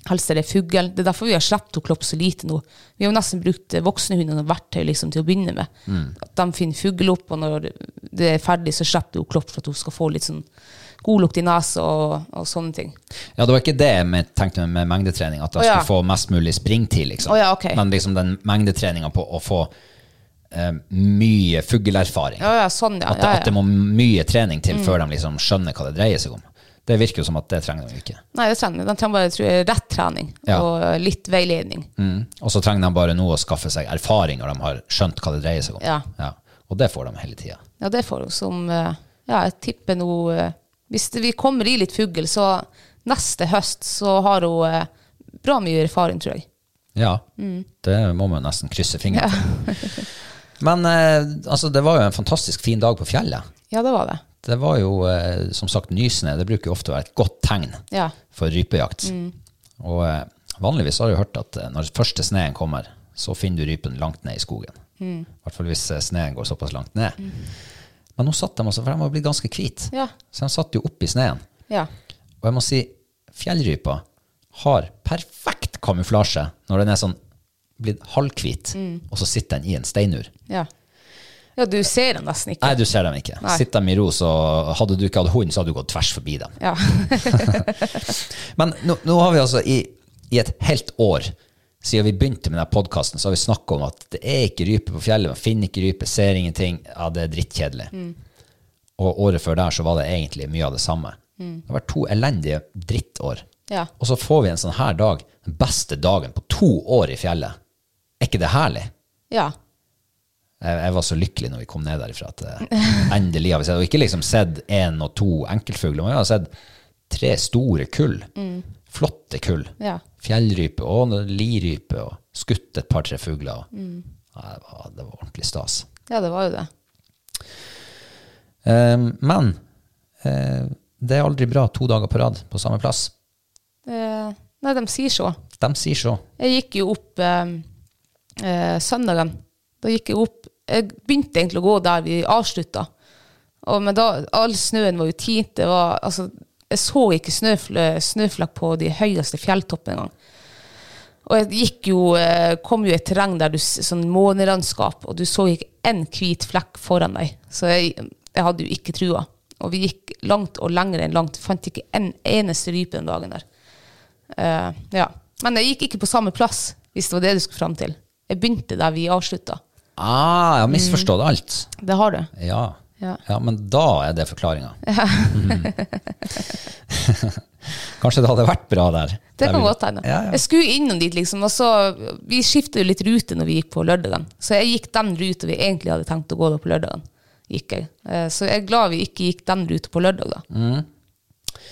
Speaker 2: helst er det fugl. Det er derfor vi har sluppet Klopp så lite nå. Vi har jo nesten brukt eh, voksne hunder som verktøy liksom, til å begynne med.
Speaker 1: Mm.
Speaker 2: At de finner fugl opp, og når det er ferdig, så slipper hun Klopp for at hun skal få litt sånn god lukt i nesa og, og sånne ting.
Speaker 1: Ja, det var ikke det jeg men- tenkte med, med mengdetrening, at de
Speaker 2: Å, ja.
Speaker 1: skulle få mest mulig springtid, liksom.
Speaker 2: Å, ja, ok.
Speaker 1: Men liksom den mengdetreninga på å få eh, mye fugleerfaring.
Speaker 2: Ja, ja, sånn, ja.
Speaker 1: at, det-
Speaker 2: ja,
Speaker 1: at det
Speaker 2: ja. Mm.
Speaker 1: må mye trening til før de liksom skjønner hva det dreier seg om. Det virker jo som at det trenger de jo ikke.
Speaker 2: Nei, det trenger de. De trenger bare tror jeg, rett trening
Speaker 1: Ja.
Speaker 2: og eh, litt veiledning.
Speaker 1: Mm. Og så trenger de bare nå å skaffe seg erfaring når de har skjønt hva det dreier seg om.
Speaker 2: Ja.
Speaker 1: Og det får de hele tida.
Speaker 2: Ja, det får hun som eh, Ja, jeg tipper nå eh, Hvis det, vi kommer i litt fugl, så neste høst så har hun eh, bra mye erfaring, tror jeg.
Speaker 1: Ja, det må man nesten krysse fingrene for. Men eh, altså, det var jo en fantastisk fin dag på fjellet.
Speaker 2: Ja, det var det.
Speaker 1: Det var jo eh, som sagt nysnø. Det bruker jo ofte å være et godt tegn
Speaker 2: Ja.
Speaker 1: for rypejakt. Og eh, vanligvis har jeg hørt at eh, når første sneen kommer, så finner du rypen langt ned i skogen. I hvert fall hvis eh, sneen går såpass langt ned. Men nå satt de også, for de var blitt ganske hvite.
Speaker 2: Ja.
Speaker 1: Så de satt jo oppi sneen.
Speaker 2: Ja.
Speaker 1: Og jeg må si, fjellrypa har perfekt kamuflasje, når den er sånn blitt halvhvit, og så sitter den i en steinur.
Speaker 2: Ja. ja, du ser den nesten ikke.
Speaker 1: Nei, du ser dem ikke.
Speaker 2: Nei.
Speaker 1: Sitter dem i ro, så hadde du ikke hatt hund, så hadde du gått tvers forbi dem.
Speaker 2: Ja.
Speaker 1: Men nå, nå har vi altså i, i et helt år siden vi begynte med denne podkasten, så har vi snakka om at det er ikke rype på fjellet. Man finner ikke rype, ser ingenting. Ja, det er drittkjedelig. Og året før der så var det egentlig mye av det samme. Det har vært to elendige drittår.
Speaker 2: Ja.
Speaker 1: Og så får vi en sånn her dag, den beste dagen på to år i fjellet. Er ikke det herlig?
Speaker 2: ja.
Speaker 1: Jeg, jeg var så lykkelig når vi kom ned derifra at eh, endelig har vi sett, og ikke liksom sett én og to enkeltfugler, men vi har sett tre store kull. Flotte kull.
Speaker 2: Ja.
Speaker 1: Fjellrype og noe lirype, og skutt et par-tre fugler. og- Ja, det, var, det var ordentlig stas.
Speaker 2: Ja, det var jo det.
Speaker 1: Eh, men eh, det er aldri bra to dager på rad på samme plass.
Speaker 2: Eh, nei, de sier så.
Speaker 1: De sier så.
Speaker 2: Jeg gikk jo opp eh, eh, søndagen. Da gikk jeg opp Jeg begynte egentlig å gå der vi avslutta. Og, men da, all snøen var jo tint. Det var, altså, jeg så ikke snøfl snøflak på de høyeste fjelltoppene engang. Og jeg gikk jo, eh, kom jo i et terreng der du, s- sånn månelandskap, og du så ikke en hvit flekk foran deg. Så jeg, jeg hadde jo ikke trua. Og vi gikk langt og lenger enn langt. Fant ikke en eneste rype den dagen der. Eh, ja. Men jeg gikk ikke på samme plass, hvis det var det du skulle fram til. Jeg begynte der vi avslutta.
Speaker 1: Ah, jeg har misforstått alt.
Speaker 2: Det har du.
Speaker 1: Ja.
Speaker 2: Ja.
Speaker 1: men da er det forklaringa. Kanskje det hadde vært bra der.
Speaker 2: Det
Speaker 1: Der
Speaker 2: kan
Speaker 1: vi-
Speaker 2: godt hende.
Speaker 1: Ja, ja.
Speaker 2: Jeg skulle innom dit, liksom. Og så, vi skiftet jo litt rute når vi gikk på lørdagen. Så jeg gikk den ruta vi egentlig hadde tenkt å gå da på lørdagen. Gikk jeg. Eh, Så jeg er glad vi ikke gikk den ruta på lørdag, da.
Speaker 1: Mm.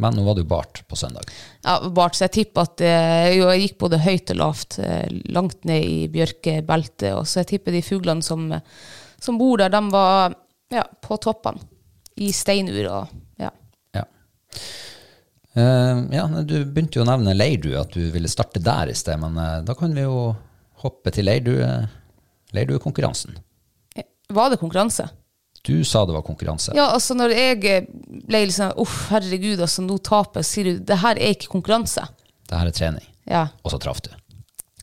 Speaker 1: Men nå var det jo bart på søndag.
Speaker 2: Ja, Bart, så jeg tipper at eh, jo, jeg gikk både høyt og lavt, eh, langt ned i bjørkebeltet. Og så jeg tipper de fuglene som, som bor der, de var ja, på toppene. I steinur og ja.
Speaker 1: Ja. Eh, ja, nei, du begynte jo å nevne leirdue, at du ville starte der i sted. Men eh, da kan vi jo hoppe til eh, leirdue, leirduekonkurransen.
Speaker 2: Eh, Var det konkurranse?
Speaker 1: Du sa det var konkurranse.
Speaker 2: Ja, altså når jeg eh, ble litt sånn Uff, herregud, altså nå taper jeg, så sier du det her er ikke konkurranse.
Speaker 1: Det her er trening.
Speaker 2: Ja,
Speaker 1: Og så traff du.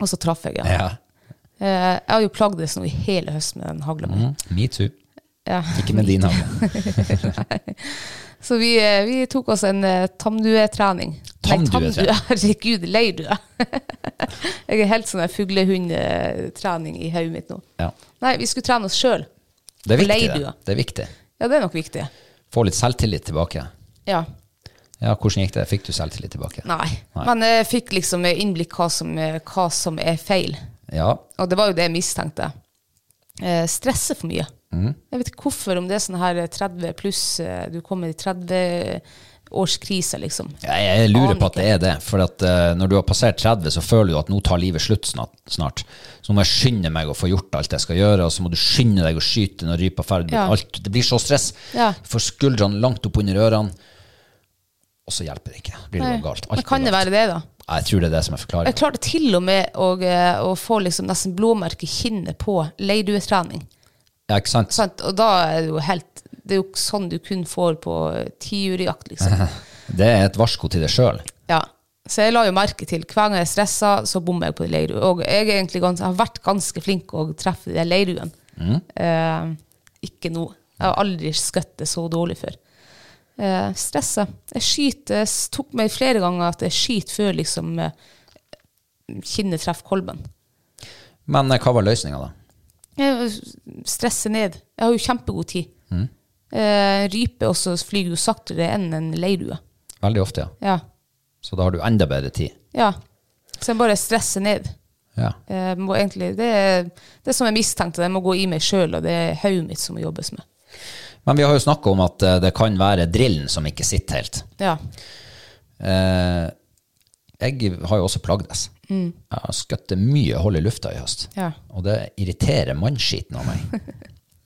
Speaker 2: Og så traff jeg, ja. Eh, Jeg har jo plagdes nå i hele høsten med den hagla mi.
Speaker 1: Mm, Me too.
Speaker 2: Ja.
Speaker 1: Ikke med din hagle.
Speaker 2: Så vi, eh, vi tok oss en eh, tamduetrening. Nei,
Speaker 1: Tamduetrening.
Speaker 2: tamdue, herregud, leirdue. jeg er helt sånn der fuglehundtrening i hodet mitt nå.
Speaker 1: Ja.
Speaker 2: Nei, vi skulle trene oss sjøl.
Speaker 1: Det er viktig.
Speaker 2: Leirdue.
Speaker 1: Det. det er viktig.
Speaker 2: Ja, det er nok viktig.
Speaker 1: Få litt selvtillit tilbake.
Speaker 2: Ja.
Speaker 1: Ja, hvordan gikk det? Fikk du selvtillit tilbake?
Speaker 2: Nei.
Speaker 1: Nei.
Speaker 2: Men jeg fikk liksom innblikk hva som, eh, hva som er feil.
Speaker 1: Ja,
Speaker 2: Og det var jo det jeg mistenkte. Eh, stresse for mye.
Speaker 1: Mm.
Speaker 2: Jeg vet ikke hvorfor, om det er sånn her 30 pluss, eh, du kommer i 30-årskrisa, liksom.
Speaker 1: jeg, jeg lurer
Speaker 2: Aner
Speaker 1: på at det er det. For at eh, når du har passert 30, så føler du at nå tar livet slutt snart. snart. Så nå må jeg skynde meg å få gjort alt jeg skal gjøre, og så må du skynde deg å skyte når rypa er ferdig.
Speaker 2: Ja.
Speaker 1: Alt, det blir så stress.
Speaker 2: Ja.
Speaker 1: Du får skuldrene langt opp under ørene, og så hjelper det ikke. Blir det
Speaker 2: Nei.
Speaker 1: noe galt.
Speaker 2: Men kan det være det, da?
Speaker 1: Ja, Jeg tror det er det som er
Speaker 2: Jeg
Speaker 1: forklaringen.
Speaker 2: klarte til og med å, eh, å få liksom nesten blåmerke i kinnet på leirduetrening.
Speaker 1: Ja, ikke sant?
Speaker 2: Sant? Og da er det jo helt Det er jo sånn du kun får på tiurjakt, liksom.
Speaker 1: Det er et varsko til deg sjøl.
Speaker 2: Ja. Så jeg la jo merke til hver gang jeg er stressa, så bommer jeg på leirue. Og jeg, er egentlig gans, jeg har vært ganske flink å treffe de leiruen. Eh, ikke nå. Jeg har aldri skutt det så dårlig før. Eh, stressa. Jeg skyter Jeg tok meg flere ganger at jeg skyter før liksom eh, kinnet treffer kolben.
Speaker 1: Men eh, hva var løsninga, da?
Speaker 2: Jeg eh, stresser ned. Jeg har jo kjempegod tid. Eh, rype også flyr jo saktere enn en leirue.
Speaker 1: Veldig ofte, ja.
Speaker 2: Ja.
Speaker 1: Så da har du enda bedre tid.
Speaker 2: ja. Så jeg bare stresser ned.
Speaker 1: Ja.
Speaker 2: Jeg Eh, må egentlig, det, er- det som jeg mistenkte, det må gå i meg sjøl, og det er hodet mitt som må jobbes med.
Speaker 1: Men vi har jo snakka om at eh, det kan være drillen som ikke sitter helt.
Speaker 2: Ja.
Speaker 1: Eh, jeg har jo også plagdes. Jeg har skutt mye hold i lufta i høst.
Speaker 2: Mm. Ja.
Speaker 1: Og det irriterer mannskiten av meg.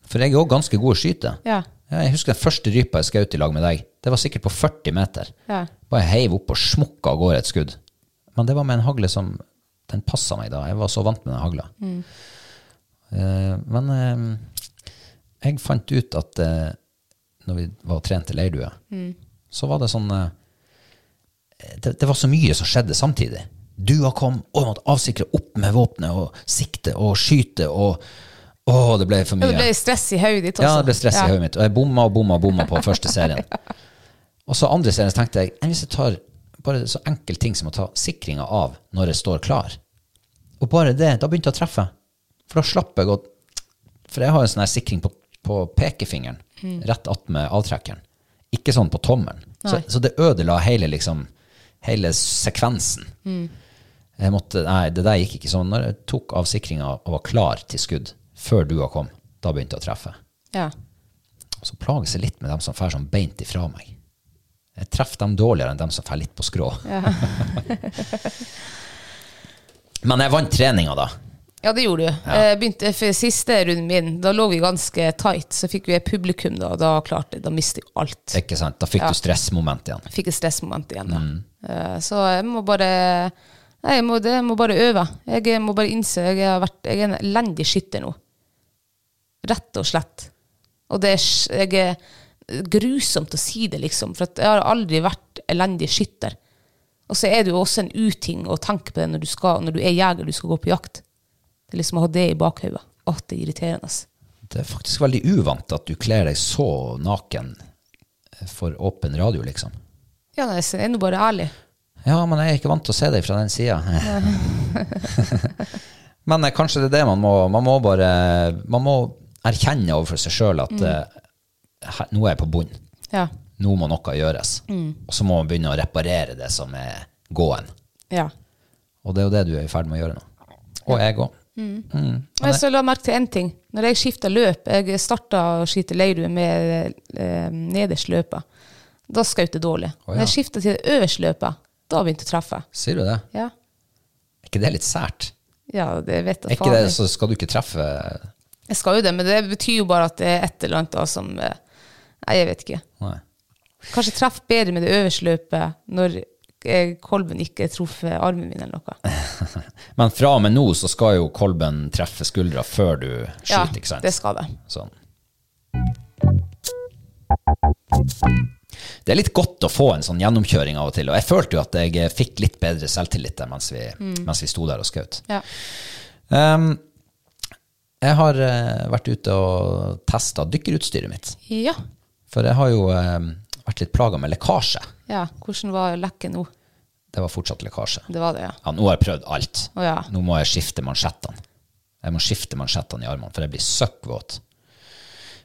Speaker 1: For jeg er òg ganske god å skyte.
Speaker 2: Ja.
Speaker 1: Jeg husker den første rypa jeg skjøt i lag med deg. Det var sikkert på 40 meter.
Speaker 2: Ja.
Speaker 1: Bare heiv opp og smukka av gårde et skudd. Men det var med en hagle som Den passa meg da. Jeg var så vant med den hagla. Eh, men eh, jeg fant ut at eh, når vi var og trente leirdue, så var det sånn eh, det, det var så mye som skjedde samtidig. Dua kom, og måtte avsikre opp med våpenet og sikte og skyte og Å, det ble for
Speaker 2: Ja,
Speaker 1: mye.
Speaker 2: det ble stress i hodet ditt også.
Speaker 1: Ja, det ble stress
Speaker 2: Ja.
Speaker 1: i hodet mitt. Og jeg bomma og bomma og bomma på første serien. Og så andre serien så tenkte jeg enn hvis jeg tar bare så enkel ting som å ta sikringa av når jeg står klar. Og bare det, da begynte jeg å treffe. For da slapp jeg å For jeg har en sånn her sikring på, på pekefingeren rett attmed avtrekkeren. Ikke sånn på tommelen. Så,
Speaker 2: Mm. Nei.
Speaker 1: så det ødela hele, liksom, hele sekvensen.
Speaker 2: Mm.
Speaker 1: Jeg måtte, nei, det der gikk ikke sånn. Når jeg tok av sikringa og var klar til skudd før dua kom, da begynte jeg å treffe.
Speaker 2: Ja.
Speaker 1: Og så plages jeg litt med dem som fer sånn beint ifra meg. Jeg treffer dem dårligere enn dem som fer litt på skrå. Men jeg vant treninga, da.
Speaker 2: ja, det gjorde du. Eh, Begynte, for siste runden min, da lå vi ganske tight, så fikk vi et publikum da, og da klarte jeg, da mistet jeg alt.
Speaker 1: Ikke sant? Da fikk du stressmoment igjen.
Speaker 2: Jeg fikk et stressmoment igjen da. Eh, Så jeg må bare... Nei, jeg må, det, jeg må bare øve. Jeg må bare innse jeg, har vært, jeg er en elendig skytter nå. Rett og slett. Og det er, s- jeg er grusomt å si det, liksom. For at jeg har aldri vært elendig skytter. Og så er det jo også en uting å tenke på det når du, skal, når du er jeger du skal gå på jakt. Det er liksom å ha det i bakhodet. At det er irriterende. ass.
Speaker 1: Det er faktisk veldig uvant at du kler deg så naken eh, for åpen radio, liksom.
Speaker 2: Ja, nei, så jeg er nå bare ærlig.
Speaker 1: Ja, men jeg er ikke vant til å se deg fra den sida. men eh, kanskje det er det man må Man må bare Man må erkjenne overfor seg sjøl at eh, her, nå er jeg på bunnen.
Speaker 2: Ja.
Speaker 1: nå må noe gjøres.
Speaker 2: Mm.
Speaker 1: Og så må man begynne å reparere det som er gåen.
Speaker 2: ja.
Speaker 1: Og det er jo det du er i ferd med å gjøre nå. Og jeg òg.
Speaker 2: Men så la jeg merke til én ting. Når jeg skifta løp Jeg starta å skyte leirue med eh, nederst løpet. Da skjøt jeg dårlig.
Speaker 1: Å, ja.
Speaker 2: Når jeg skifta til det øverste løpet, da begynte jeg å treffe.
Speaker 1: Sier du det?
Speaker 2: Ja,
Speaker 1: Er ikke det litt sært?
Speaker 2: ja det vet
Speaker 1: Er
Speaker 2: jeg
Speaker 1: ikke
Speaker 2: faen
Speaker 1: det,
Speaker 2: ikke.
Speaker 1: så skal du ikke treffe
Speaker 2: Jeg skal jo det, men det betyr jo bare at det er et eller annet da som eh, Nei, jeg vet ikke.
Speaker 1: Nei.
Speaker 2: Kanskje treff bedre med det øverste løpet når eh, kolben ikke truffer armen min eller noe.
Speaker 1: Men fra og med nå så skal jo kolben treffe skuldra før du skyter,
Speaker 2: Ja,
Speaker 1: ikke sant?
Speaker 2: det skal det.
Speaker 1: Sånn. Det er litt godt å få en sånn gjennomkjøring av og til. Og jeg følte jo at jeg fikk litt bedre selvtillit der mens vi,
Speaker 2: Mm.
Speaker 1: mens vi sto der og skjøt.
Speaker 2: Ja.
Speaker 1: Ehm, jeg har eh, vært ute og testa dykkerutstyret mitt.
Speaker 2: ja.
Speaker 1: For jeg har jo eh, vært litt plaga med lekkasje.
Speaker 2: Ja. Hvordan var lekket nå?
Speaker 1: Det var fortsatt lekkasje.
Speaker 2: Det var det, ja.
Speaker 1: Ja, nå har jeg prøvd alt.
Speaker 2: Å ja.
Speaker 1: Nå må jeg skifte mansjettene. Jeg må skifte mansjettene i armene, for jeg blir søkkvåt.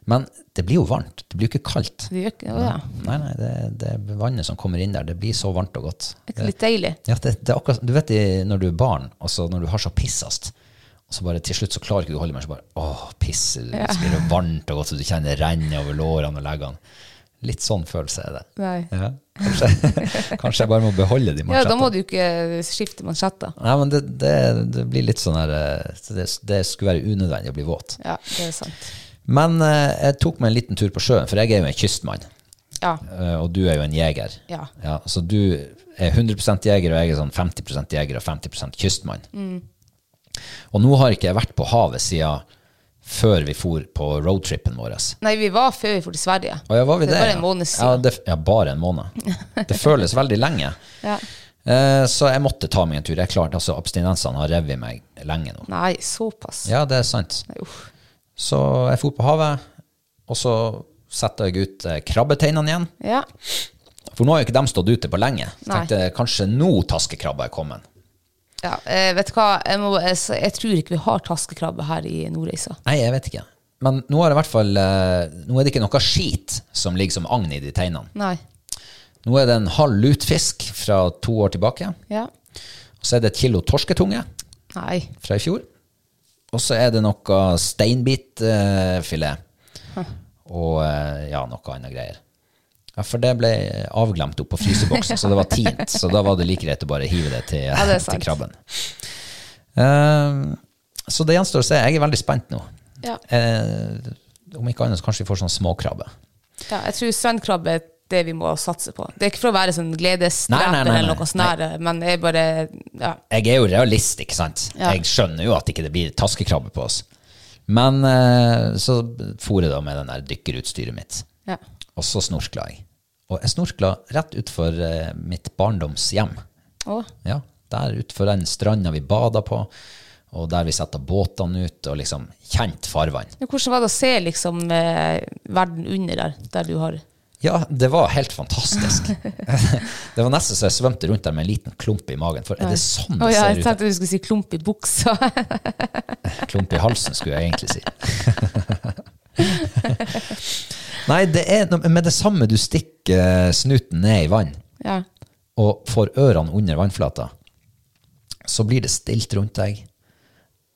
Speaker 1: Men det blir jo varmt. Det blir jo ikke kaldt.
Speaker 2: Det gjør ikke Å ja.
Speaker 1: Nei, nei, det, det vannet som kommer inn der, det blir så varmt og godt.
Speaker 2: Det er Litt deilig.
Speaker 1: Ja, det, det er akkurat, du vet i- når du er barn, og så når du har så pissast, og så bare til slutt så klarer ikke du å holde mer, så bare åh, piss, så blir det varmt og godt, så du kjenner det renner over lårene og leggene. Litt sånn følelse er det.
Speaker 2: Nei.
Speaker 1: Ja, kanskje, kanskje jeg bare må beholde de
Speaker 2: Ja, da
Speaker 1: mansjettene.
Speaker 2: må du ikke skifte mansjetter.
Speaker 1: Nei, men det, det, det blir litt sånn her eh, så det, det skulle være unødvendig å bli våt.
Speaker 2: Ja, det er sant.
Speaker 1: Men eh, jeg tok meg en liten tur på sjøen, for jeg er jo en kystmann.
Speaker 2: Ja.
Speaker 1: Eh, Og du er jo en jeger.
Speaker 2: Ja.
Speaker 1: så du er 100 jeger, og jeg er sånn 50 jeger og 50 kystmann.
Speaker 2: Mm.
Speaker 1: Og nå har ikke jeg vært på havet siden før vi for på roadtrippen vår.
Speaker 2: Nei, vi var før vi dro til Sverige.
Speaker 1: Og ja, var vi
Speaker 2: det
Speaker 1: det?
Speaker 2: var
Speaker 1: ja?
Speaker 2: en måned
Speaker 1: Ja,
Speaker 2: siden.
Speaker 1: det, ja, bare en måned. Det føles veldig lenge.
Speaker 2: Ja.
Speaker 1: Eh, Så jeg måtte ta meg en tur. Jeg klarte, altså Abstinensene har revet meg lenge nå.
Speaker 2: Nei, såpass.
Speaker 1: Ja, det er sant.
Speaker 2: Nei, uff.
Speaker 1: Så jeg for på havet, og så setter jeg ut eh, krabbeteinene igjen.
Speaker 2: Ja.
Speaker 1: For nå har jo ikke de stått ute på lenge. Så
Speaker 2: Nei.
Speaker 1: tenkte jeg, kanskje nå taskekrabba er kommet.
Speaker 2: ja. Eh, vet du hva, jeg, må, jeg, s- jeg tror ikke vi har taskekrabbe her i Nordreisa.
Speaker 1: Nei, jeg vet ikke. Men nå er det i hvert fall eh, Nå er det ikke noe skit som ligger som agn i de teinene.
Speaker 2: Nei.
Speaker 1: Nå er det en halv lutfisk fra to år tilbake.
Speaker 2: Ja.
Speaker 1: Og så er det et kilo torsketunge
Speaker 2: Nei.
Speaker 1: fra i fjor. Og så er det noe steinbitfilet. og eh, ja, noe annet greier. Ja, For det ble avglemt oppå fryseboksen, så det var tint. Så da var det like greit å bare hive det til,
Speaker 2: Ja, det er
Speaker 1: til
Speaker 2: sant.
Speaker 1: krabben. Eh, så det gjenstår å se. Jeg er veldig spent nå.
Speaker 2: Ja.
Speaker 1: Eh, om ikke annet så kanskje vi får sånn småkrabbe.
Speaker 2: ja. Jeg tror strandkrabbe er det vi må satse på. Det er ikke for å være sånn
Speaker 1: Nei, nei,
Speaker 2: gledesdreper
Speaker 1: nei, nei.
Speaker 2: eller noe sånt, der, men jeg bare ja.
Speaker 1: Jeg er jo realist, ikke sant?
Speaker 2: Ja.
Speaker 1: Jeg skjønner jo at ikke det blir taskekrabbe på oss. Men eh, så for jeg da med den der dykkerutstyret mitt.
Speaker 2: Ja.
Speaker 1: Og så snorkla jeg. Og jeg snorkla rett utfor eh, mitt barndomshjem.
Speaker 2: Å,
Speaker 1: Ja, Der utenfor den stranda vi bada på, og der vi setter båtene ut, og liksom kjent farvann.
Speaker 2: Men Hvordan var det å se liksom, eh, verden under der, der du har
Speaker 1: Ja, det var helt fantastisk. det var nesten så jeg svømte rundt der med en liten klump i magen. For er det sånn
Speaker 2: Å
Speaker 1: det
Speaker 2: ja,
Speaker 1: ser
Speaker 2: jeg
Speaker 1: ut?
Speaker 2: tenkte du skulle si klump i buksa.
Speaker 1: Klump i halsen, skulle jeg egentlig si. Nei, det er noe- med det samme du stikker eh, snuten ned i vann
Speaker 2: ja.
Speaker 1: og får ørene under vannflata, så blir det stilt rundt deg.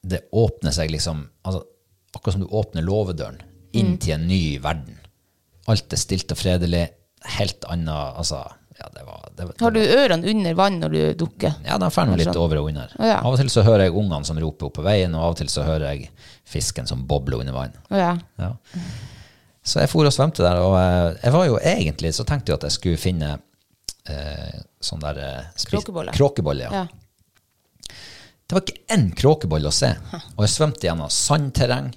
Speaker 1: Det åpner seg liksom altså, Akkurat som du åpner låvedøren inn
Speaker 2: Mm.
Speaker 1: til en ny verden. Alt er stilt og fredelig. Helt anna Altså, ja, det var, det, var-
Speaker 2: Har du ørene under vann når du dukker?
Speaker 1: Ja, de fer nå litt over og under.
Speaker 2: Å, ja.
Speaker 1: Av og til så hører jeg ungene som roper opp på veien, og av og til så hører jeg fisken som bobler under vann.
Speaker 2: Å ja.
Speaker 1: Ja. Så jeg for og svømte der, og eh, jeg var jo egentlig så tenkte jeg at jeg skulle finne eh, sånn der eh, spis-
Speaker 2: Kråkebolle.
Speaker 1: Kråkebolle, ja.
Speaker 2: ja.
Speaker 1: Det var ikke én kråkebolle å se. Og jeg svømte gjennom sandterreng,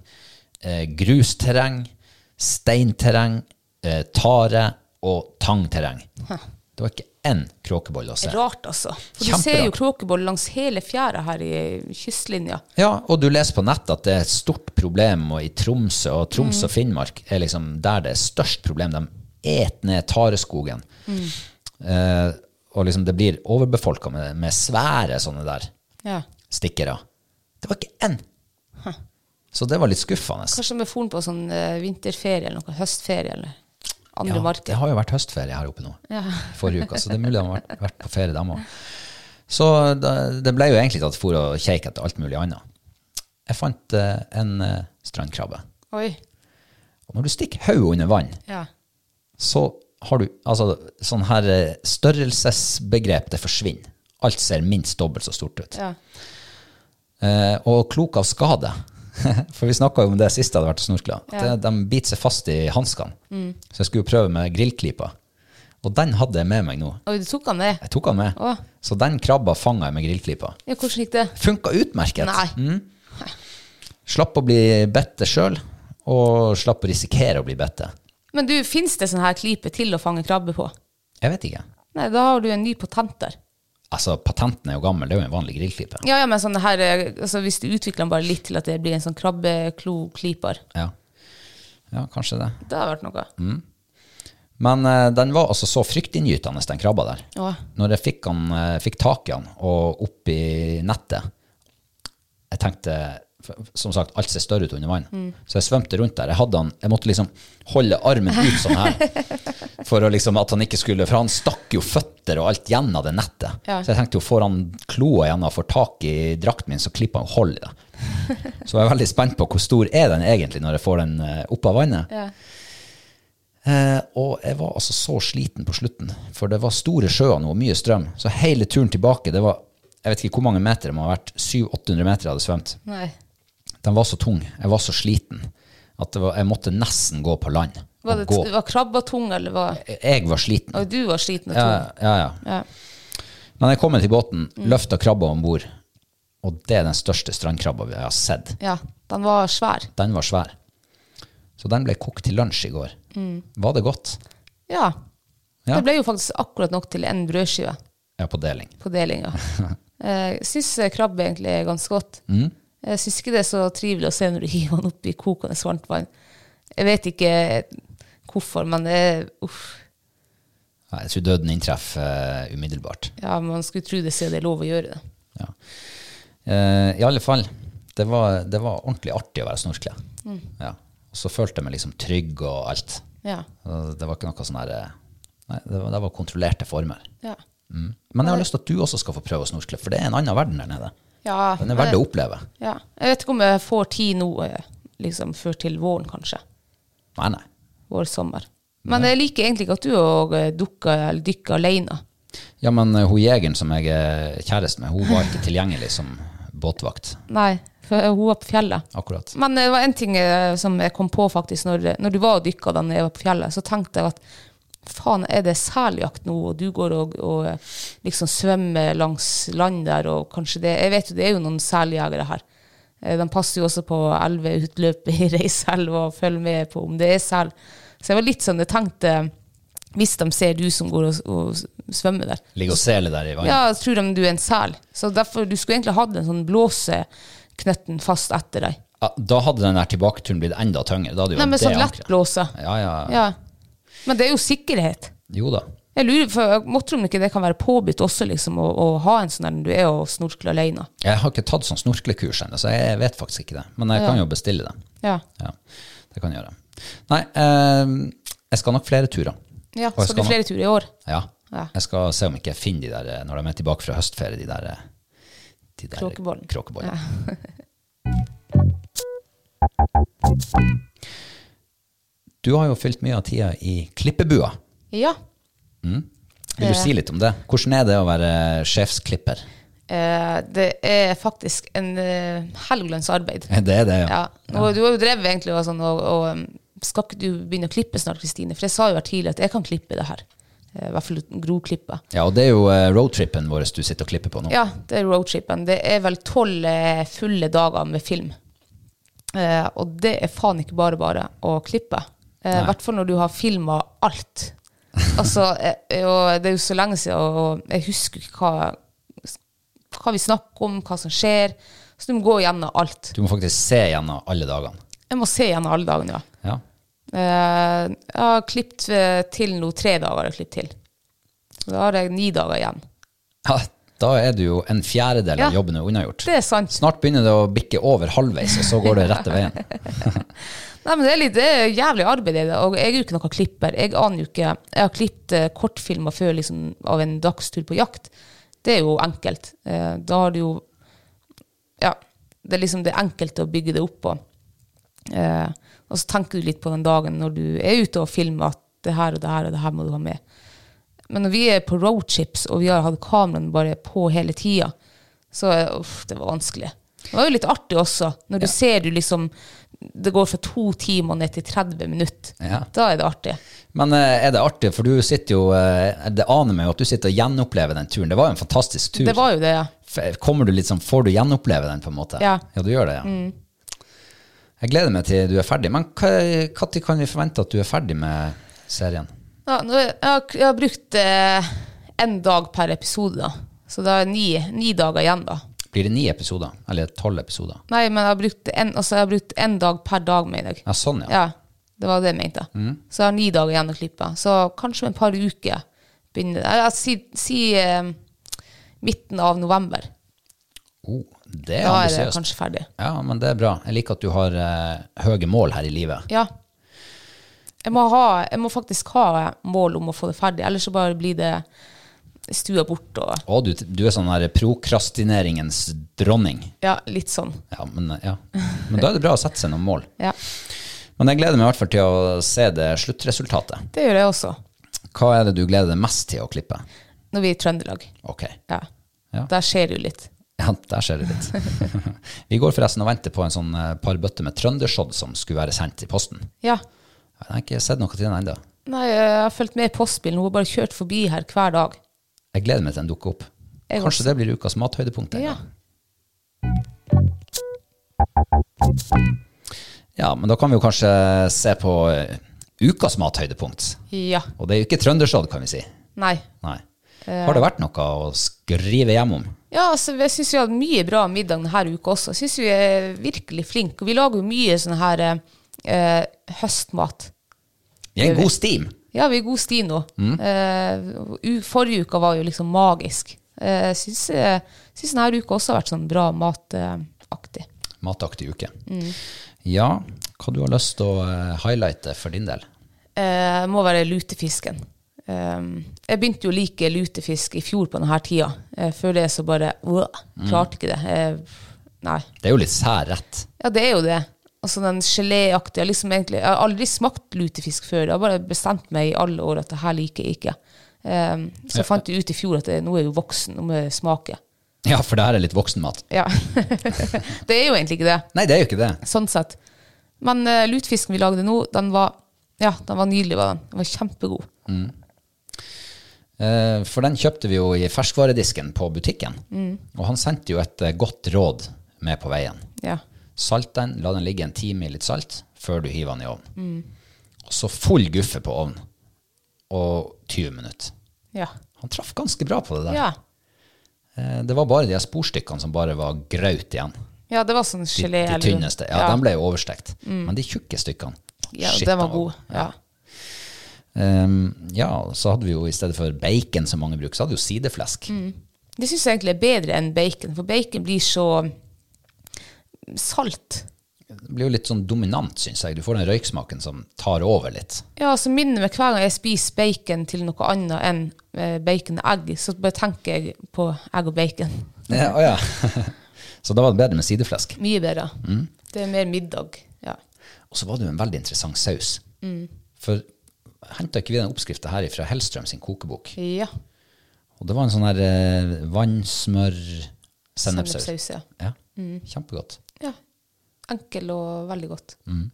Speaker 1: eh, grusterreng, steinterreng, eh, tare og tangterreng. Det var ikke én kråkebolle å se.
Speaker 2: Rart, altså. For du
Speaker 1: Kjemperart.
Speaker 2: ser jo kråkeboll langs hele fjæra her i kystlinja.
Speaker 1: Ja, og du leser på nettet at det er et stort problem og i Tromsø, og Troms og Finnmark er liksom der det er størst problem. De et ned tareskogen. Eh, og liksom det blir overbefolka med, med svære sånne der
Speaker 2: Ja.
Speaker 1: stikkere. Det var ikke én! Så det var litt skuffende.
Speaker 2: Kanskje de er foren på sånn eh, vinterferie eller noe, høstferie eller andre
Speaker 1: Ja, det
Speaker 2: marked.
Speaker 1: har jo vært høstferie her oppe nå
Speaker 2: Ja.
Speaker 1: forrige uke, så det er mulig de har vært, vært på ferie, dem òg. Så da, det ble jo egentlig til at jeg for og kjekk etter alt mulig annet. Jeg fant eh, en eh, strandkrabbe.
Speaker 2: Oi.
Speaker 1: Og når du stikker hodet under vann,
Speaker 2: Ja.
Speaker 1: så har du altså, sånn her eh, størrelsesbegrep, det forsvinner. Alt ser minst dobbelt så stort ut.
Speaker 2: ja.
Speaker 1: Eh, og klok av skade, for vi snakka jo om det sist jeg hadde vært og snorkla, at
Speaker 2: Ja. Mm.
Speaker 1: det- de biter seg fast i hanskene. Så jeg skulle jo prøve med grillklypa. Og den hadde jeg med meg nå.
Speaker 2: Oi, du tok han det?
Speaker 1: Jeg tok den med.
Speaker 2: Å.
Speaker 1: Så den krabba fanga jeg med grillklypa.
Speaker 2: Ja, hvordan gikk det?
Speaker 1: Funka utmerket.
Speaker 2: Nei.
Speaker 1: Mm. Slapp å bli bitt sjøl, og slapp å risikere å bli bitt.
Speaker 2: Men du, fins det sånn her klype til å fange krabbe på?
Speaker 1: Jeg vet ikke.
Speaker 2: Nei, da har du en ny patent der.
Speaker 1: Altså, patenten er jo gammel, det er jo en vanlig grillklype.
Speaker 2: Ja, ja, men sånn her, eh, altså, hvis du utvikler den bare litt til at det blir en sånn krabbeklo-klyper,
Speaker 1: Ja. ja, kanskje det.
Speaker 2: det hadde vært noe.
Speaker 1: Mm. Men eh, den var altså så fryktinngytende, den krabba der.
Speaker 2: Ja.
Speaker 1: Når jeg fikk, han, eh, fikk tak i han og opp i nettet, jeg tenkte, f- som sagt, alt ser større ut under vann.
Speaker 2: Mm.
Speaker 1: Så jeg svømte rundt der. Jeg, hadde han, jeg måtte liksom holde armen ut sånn her, for å liksom at han ikke skulle, for han stakk jo føtter og alt gjennom det nettet.
Speaker 2: Ja.
Speaker 1: Så jeg tenkte jo, får han kloa gjennom og får tak i drakten min, så klipper han jo hold i det. Så jeg er veldig spent på hvor stor er den egentlig når jeg får den eh, opp av vannet.
Speaker 2: Ja.
Speaker 1: Eh, og jeg var altså så sliten på slutten, for det var store sjøer nå og mye strøm. Så hele turen tilbake, det var jeg vet ikke hvor mange meter det må ha vært, 700-800 meter jeg hadde svømt.
Speaker 2: Nei.
Speaker 1: Den var så tung, jeg var så sliten, at det var, jeg måtte nesten gå på land.
Speaker 2: Var,
Speaker 1: og
Speaker 2: det,
Speaker 1: gå.
Speaker 2: var krabba tung, eller var
Speaker 1: Jeg var sliten.
Speaker 2: Og du var sliten og
Speaker 1: Ja,
Speaker 2: tung?
Speaker 1: ja, ja.
Speaker 2: Ja.
Speaker 1: Men jeg kom inn til båten,
Speaker 2: Mm.
Speaker 1: løfta krabba om bord, og det er den største strandkrabba jeg har sett.
Speaker 2: ja. Den var svær.
Speaker 1: Den var svær. Så den ble kokt til lunsj i går.
Speaker 2: Mm.
Speaker 1: Var det godt?
Speaker 2: Ja.
Speaker 1: Ja.
Speaker 2: Det ble jo faktisk akkurat nok til en brødskive
Speaker 1: Ja, på deling.
Speaker 2: på delinga. Jeg syns krabbe egentlig er ganske godt.
Speaker 1: Mm.
Speaker 2: Jeg syns ikke det er så trivelig å se når du hiver den opp i kokende varmt vann. Jeg vet ikke eh, hvorfor, men det er uff.
Speaker 1: Nei, Jeg tror døden inntreffer eh, umiddelbart.
Speaker 2: Ja, man skulle tro det siden det er lov å gjøre det.
Speaker 1: Ja. Eh, I alle fall, det var, det var ordentlig artig å være snorkle.
Speaker 2: Mm.
Speaker 1: Ja. Og så følte jeg meg liksom trygg og alt.
Speaker 2: Ja.
Speaker 1: Og Det var ikke noe sånn her eh, Nei, det var, det var kontrollerte former.
Speaker 2: Ja.
Speaker 1: Mm. Men jeg har lyst til at du også skal få prøve å snorkle, for det er en annen verden der nede.
Speaker 2: ja
Speaker 1: Den er verdt å oppleve.
Speaker 2: Ja. Jeg vet ikke om jeg får tid nå, eh, liksom før til våren, kanskje.
Speaker 1: Nei, nei.
Speaker 2: Vår-sommer. Men jeg liker egentlig ikke at du og eh, dukker eller dykker alene.
Speaker 1: Ja, men eh, hun jegeren som jeg er kjæreste med, hun var ikke tilgjengelig som båtvakt.
Speaker 2: Nei, for hun var på fjellet.
Speaker 1: Akkurat.
Speaker 2: Men det var en ting eh, som jeg kom på faktisk når, når du var og dykka da jeg var på fjellet, så tenkte jeg at faen, er det seljakt nå, og du går og, og eh, liksom svømmer langs land der, og kanskje det Jeg vet jo det er jo noen seljegere her. Eh, De passer jo også på elveutløpet i Reiselv og følger med på om det er sel. Så jeg var litt sånn, jeg tenkte hvis de ser du som går og, og svømmer der.
Speaker 1: Ligger og seler der i vannet.
Speaker 2: Ja, da tror de du er en sel. Så derfor, du skulle egentlig hatt en sånn blåseknøtten fast etter deg.
Speaker 1: Ja, da hadde den der tilbaketuren blitt enda tyngre. Da hadde jo
Speaker 2: Nei, men
Speaker 1: det
Speaker 2: sånn
Speaker 1: ankeret.
Speaker 2: lettblåse.
Speaker 1: Ja, ja.
Speaker 2: Ja. Men det er jo sikkerhet.
Speaker 1: Jo da.
Speaker 2: Jeg lurer, for jeg må tro om ikke det kan være påbudt også, liksom, å, å ha en sånn der når du er og snorkler alene.
Speaker 1: Jeg har ikke tatt sånn snorklekurs ennå, så jeg vet faktisk ikke det. Men jeg kan jo bestille det.
Speaker 2: Ja.
Speaker 1: Ja, det kan jeg gjøre. Nei, eh, jeg skal nok flere turer.
Speaker 2: ja
Speaker 1: Og jeg
Speaker 2: så
Speaker 1: skal
Speaker 2: det er flere turer i år.
Speaker 1: Ja.
Speaker 2: Ja.
Speaker 1: Jeg skal se om ikke jeg finner de der eh, når de er tilbake fra høstferie, de der, eh, de der
Speaker 2: Kråkebollen.
Speaker 1: kråkebollen. Du har jo fylt mye av tida i klippebua.
Speaker 2: Ja.
Speaker 1: Vil du si litt om det? Hvordan er det å være sjefsklipper?
Speaker 2: Eh, det er faktisk en eh, helglønns arbeid.
Speaker 1: Det er det, ja.
Speaker 2: Ja. Og du har jo drevet egentlig og sånn, og, og um, skal ikke du begynne å klippe snart, Kristine? For jeg sa jo her tidligere at jeg kan klippe det her. Eh, I hvert fall grovklippe.
Speaker 1: Ja, og det er jo eh, roadtrippen vår du sitter og klipper på nå.
Speaker 2: Ja, det er roadtripen. Det er vel tolv eh, fulle dager med film. Eh, og det er faen ikke bare bare å klippe. Eh, I hvert fall når du har filma alt. Altså, eh, og det er jo så lenge siden, og jeg husker ikke hva, hva vi snakker om, hva som skjer. Så du må gå gjennom alt.
Speaker 1: Du må faktisk se gjennom alle dagene.
Speaker 2: Jeg må se gjennom alle dagene, ja.
Speaker 1: Ja.
Speaker 2: Eh, jeg har klippet eh, til nå tre dager. har jeg klippet til. Så da har jeg ni dager igjen.
Speaker 1: ja, da er du jo en fjerdedel
Speaker 2: Ja.
Speaker 1: av jobben er unnagjort.
Speaker 2: Det er sant.
Speaker 1: Snart begynner det å bikke over halvveis, og så går det rette veien.
Speaker 2: Nei, men Det er litt det er jævlig arbeid, i det, og jeg er jo ikke noen klipper. Jeg aner jo ikke, jeg har klippet eh, kortfilmer før liksom, av en dagstur på jakt. Det er jo enkelt. Eh, da har du jo Ja, det er liksom det enkelte å bygge det opp på. Eh, og så tenker du litt på den dagen når du er ute og filmer at det her og det her og det her må du ha med. Men når vi er på roadtrips, og vi har hatt kameraene bare på hele tida, så eh, uff, det var vanskelig. Det var jo litt artig også, når du ser du liksom Det går fra to timer ned til 30 minutter.
Speaker 1: Ja.
Speaker 2: Da er det artig.
Speaker 1: Men eh, er det artig, for du sitter jo eh, Det aner meg jo at du sitter og gjenopplever den turen. Det var jo en fantastisk tur.
Speaker 2: Det var jo det, ja.
Speaker 1: F- Kommer du litt sånn, Får du gjenoppleve den, på en måte?
Speaker 2: Ja. Mm.
Speaker 1: du gjør det, ja. Jeg gleder meg til du er ferdig. Men når kan vi forvente at du er ferdig med serien?
Speaker 2: ja nå, jeg, har, jeg har brukt eh, en dag per episode, da. Så det er ni, ni dager igjen, da.
Speaker 1: Blir det ni episoder? Eller tolv episoder?
Speaker 2: Nei, men jeg har brukt en, altså, jeg har brukt en dag per dag, mener jeg.
Speaker 1: Ja, sånn, ja. Mm.
Speaker 2: Ja, det var det jeg mente. Så jeg har ni dager igjen å klippe. Så kanskje om et par uker begynner jeg, jeg, Si, si eh, midten av november.
Speaker 1: Oh, det er
Speaker 2: Da er det
Speaker 1: ambisiøst.
Speaker 2: kanskje ferdig.
Speaker 1: Ja, men det er bra. Jeg liker at du har eh, høye mål her i livet.
Speaker 2: Ja. Jeg må, ha, jeg må faktisk ha mål om å få det ferdig, ellers så bare blir det stua bort og
Speaker 1: Å, du, du er sånn her prokrastineringens dronning.
Speaker 2: Ja, litt sånn.
Speaker 1: Ja men, ja, men da er det bra å sette seg noen mål.
Speaker 2: Ja,
Speaker 1: Men jeg gleder meg i hvert fall til å se det sluttresultatet.
Speaker 2: Det gjør jeg også,
Speaker 1: Hva er det du gleder deg mest til å klippe?
Speaker 2: når vi er i Trøndelag.
Speaker 1: Ok,
Speaker 2: Ja.
Speaker 1: Ja.
Speaker 2: Der skjer det jo litt.
Speaker 1: ja, der skjer det litt. Vi går forresten og venter på en sånn eh, par bøtter med trøndersodd som skulle være sendt i posten.
Speaker 2: Ja.
Speaker 1: Jeg har ikke sett noe til den ennå.
Speaker 2: Nei, jeg har fulgt med i postbilen, hun har bare kjørt forbi her hver dag.
Speaker 1: Jeg gleder meg til den dukker opp.
Speaker 2: Jeg
Speaker 1: Kanskje det blir ukas mathøydepunkt. en
Speaker 2: Ja.
Speaker 1: gang. Ja, men da kan vi jo kanskje se på eh, ukas mathøydepunkt.
Speaker 2: ja.
Speaker 1: Og det er jo ikke trøndersodd, kan vi si.
Speaker 2: Nei.
Speaker 1: Nei. Har det vært noe å skrive hjem om?
Speaker 2: Ja, altså, jeg syns vi hadde mye bra middag denne uka også. Jeg syns vi er virkelig flinke. Og vi lager jo mye sånn her eh, eh, høstmat.
Speaker 1: Vi er en god steam.
Speaker 2: Ja, vi er i god sti nå. Eh, u- forrige uka var jo liksom magisk. Eh, Jeg syns, eh, syns denne uka også har vært sånn bra mataktig.
Speaker 1: Mataktig uke. Ja, hva du har lyst til å eh, highlighte for din del?
Speaker 2: Eh, må være lutefisken. Eh, jeg begynte jo å like lutefisk i fjor på denne tida. Eh, før det så bare øh, Klarte ikke det. Eh, nei.
Speaker 1: Det er jo litt sær rett.
Speaker 2: Ja, det er jo det. Altså den geléaktige jeg liksom egentlig, Jeg har aldri smakt lutefisk før. Jeg har bare bestemt meg i alle år at det her liker jeg ikke. Eh, så jeg fant jo ut i fjor at det, nå er jeg jo voksen, nå må jeg smake.
Speaker 1: Ja, for det her er litt voksenmat.
Speaker 2: Ja. det er jo egentlig ikke det,
Speaker 1: Nei, det er jo ikke det.
Speaker 2: sånn sett. Men eh, lutefisken vi lagde nå, den var, ja, den var nydelig. Var den. den var kjempegod.
Speaker 1: Eh, For den kjøpte vi jo i ferskvaredisken på butikken. Og han sendte jo et eh, godt råd med på veien.
Speaker 2: Ja.
Speaker 1: Salt den, la den ligge en time i litt salt før du hiver den i ovnen. Og så full guffe på ovnen. og 20 minutter.
Speaker 2: Ja.
Speaker 1: Han traff ganske bra på det der.
Speaker 2: ja.
Speaker 1: Eh, Det var bare de her sporstykkene som bare var graut igjen.
Speaker 2: Ja, det var sånn
Speaker 1: De,
Speaker 2: gelé.
Speaker 1: de
Speaker 2: eller- Mm.
Speaker 1: tynneste. Ja, de ble jo overstekt. Men de tjukke stykkene
Speaker 2: ja,
Speaker 1: shit,
Speaker 2: den var
Speaker 1: da.
Speaker 2: god. Ja.
Speaker 1: Ehm, ja, så hadde vi jo i stedet for bacon som mange bruker, så hadde vi jo sideflesk.
Speaker 2: Mm. Det syns jeg egentlig er bedre enn bacon, for bacon blir så salt.
Speaker 1: Det blir jo litt sånn dominant, syns jeg. Du får den røyksmaken som tar over litt.
Speaker 2: Ja, så minner meg hver gang jeg spiser bacon til noe annet enn eh, bacon og egg, så bare tenker jeg på egg og bacon.
Speaker 1: Ja, å ja. så da var det bedre med sideflesk.
Speaker 2: Mye bedre.
Speaker 1: Mm.
Speaker 2: Det er mer middag. Ja.
Speaker 1: Og så var det jo en veldig interessant saus. For henta ikke vi den oppskrifta her fra Hellstrøm sin kokebok?
Speaker 2: ja.
Speaker 1: Og det var en sånn her eh, vannsmør-sennepssaus.
Speaker 2: Sennepssaus, ja.
Speaker 1: Ja. Kjempegodt.
Speaker 2: ja. Enkel og veldig godt.
Speaker 1: Hva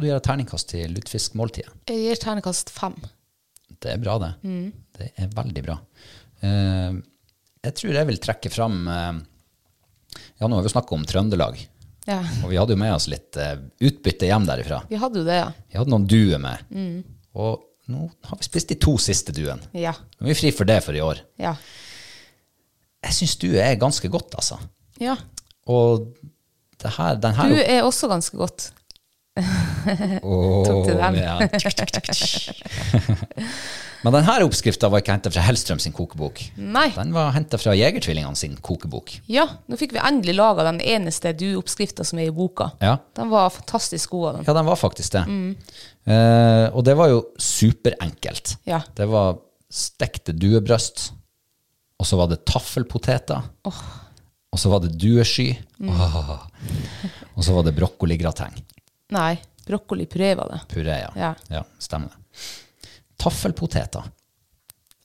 Speaker 1: du gjør av terningkast til lutefiskmåltidet?
Speaker 2: Jeg gir ternekast fem.
Speaker 1: Det er bra, det. Det er veldig bra. Eh, jeg tror jeg vil trekke fram eh, Ja, nå har vi snakka om Trøndelag,
Speaker 2: Ja.
Speaker 1: og vi hadde jo med oss litt eh, utbytte hjem derifra.
Speaker 2: Vi hadde jo det, ja.
Speaker 1: Vi hadde noen duer med. Og nå har vi spist de to siste duene.
Speaker 2: Ja.
Speaker 1: Nå er vi fri for det for i år.
Speaker 2: Ja.
Speaker 1: Jeg syns due er ganske godt, altså.
Speaker 2: ja.
Speaker 1: Og det her, den her
Speaker 2: Du er også ganske godt.
Speaker 1: Åh,
Speaker 2: tok til den.
Speaker 1: ja. Men den her oppskrifta var ikke henta fra Hellstrøm sin kokebok.
Speaker 2: Nei.
Speaker 1: Den var henta fra Jegertvillingene sin kokebok.
Speaker 2: Ja, nå fikk vi endelig laga den eneste du-oppskrifta som er i boka.
Speaker 1: Ja.
Speaker 2: Den var fantastisk god av den.
Speaker 1: Ja, den var faktisk det.
Speaker 2: Mm.
Speaker 1: Eh, og det var jo superenkelt.
Speaker 2: Ja.
Speaker 1: Det var stekte duebrøst, og så var det taffelpoteter, og så var det duesky,
Speaker 2: Mm.
Speaker 1: Åh. og så var det brokkoligrateng.
Speaker 2: Nei, brokkolipuré var det.
Speaker 1: Puré, ja.
Speaker 2: Ja.
Speaker 1: Stemmer det. Taffelpoteter.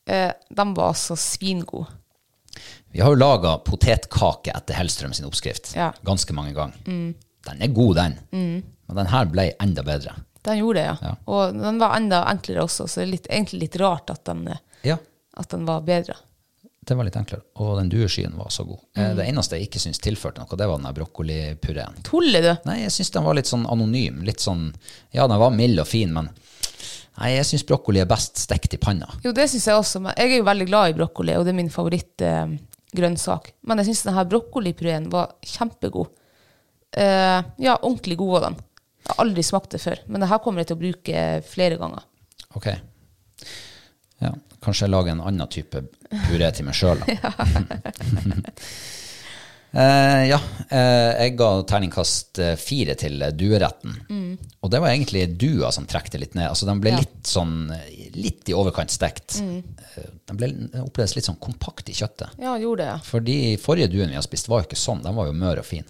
Speaker 2: Eh, de var altså svingode.
Speaker 1: Vi har jo laga potetkake etter Hellstrøm sin oppskrift
Speaker 2: Ja.
Speaker 1: ganske mange ganger. Den er god, den. Men den her ble enda bedre.
Speaker 2: Den gjorde det, ja.
Speaker 1: Ja.
Speaker 2: Og den var enda enklere også, så det er litt, egentlig litt rart at den, eh,
Speaker 1: Ja,
Speaker 2: at den var bedre.
Speaker 1: det var litt enklere. Og den dueskyen var så god. Eh, Det eneste jeg ikke syns tilførte noe, det var den der brokkolipureen.
Speaker 2: Tuller du?
Speaker 1: Nei, jeg syns den var litt sånn anonym. Litt sånn Ja, den var mild og fin, men Nei, jeg syns brokkoli er best stekt i panna.
Speaker 2: Jo, det syns jeg også. Men jeg er jo veldig glad i brokkoli, og det er min favorittgrønnsak. Men jeg syns denne brokkolipureen var kjempegod. Eh, ja, ordentlig god var den. Jeg har aldri smakt det før, men det her kommer jeg til å bruke eh, flere ganger.
Speaker 1: Ok. Ja, kanskje jeg lager en annen type puré til meg sjøl, da. Eh, ja, eh, jeg ga terningkast eh, fire til eh, dueretten. Og det var egentlig dua som trekte litt ned. Altså, den ble
Speaker 2: Ja.
Speaker 1: litt sånn eh, litt i overkant stekt. Eh, Den ble den opplevdes litt sånn kompakt i kjøttet.
Speaker 2: Ja, gjorde det, ja.
Speaker 1: For de forrige duene vi har spist, var jo ikke sånn. Den var jo mør og fin.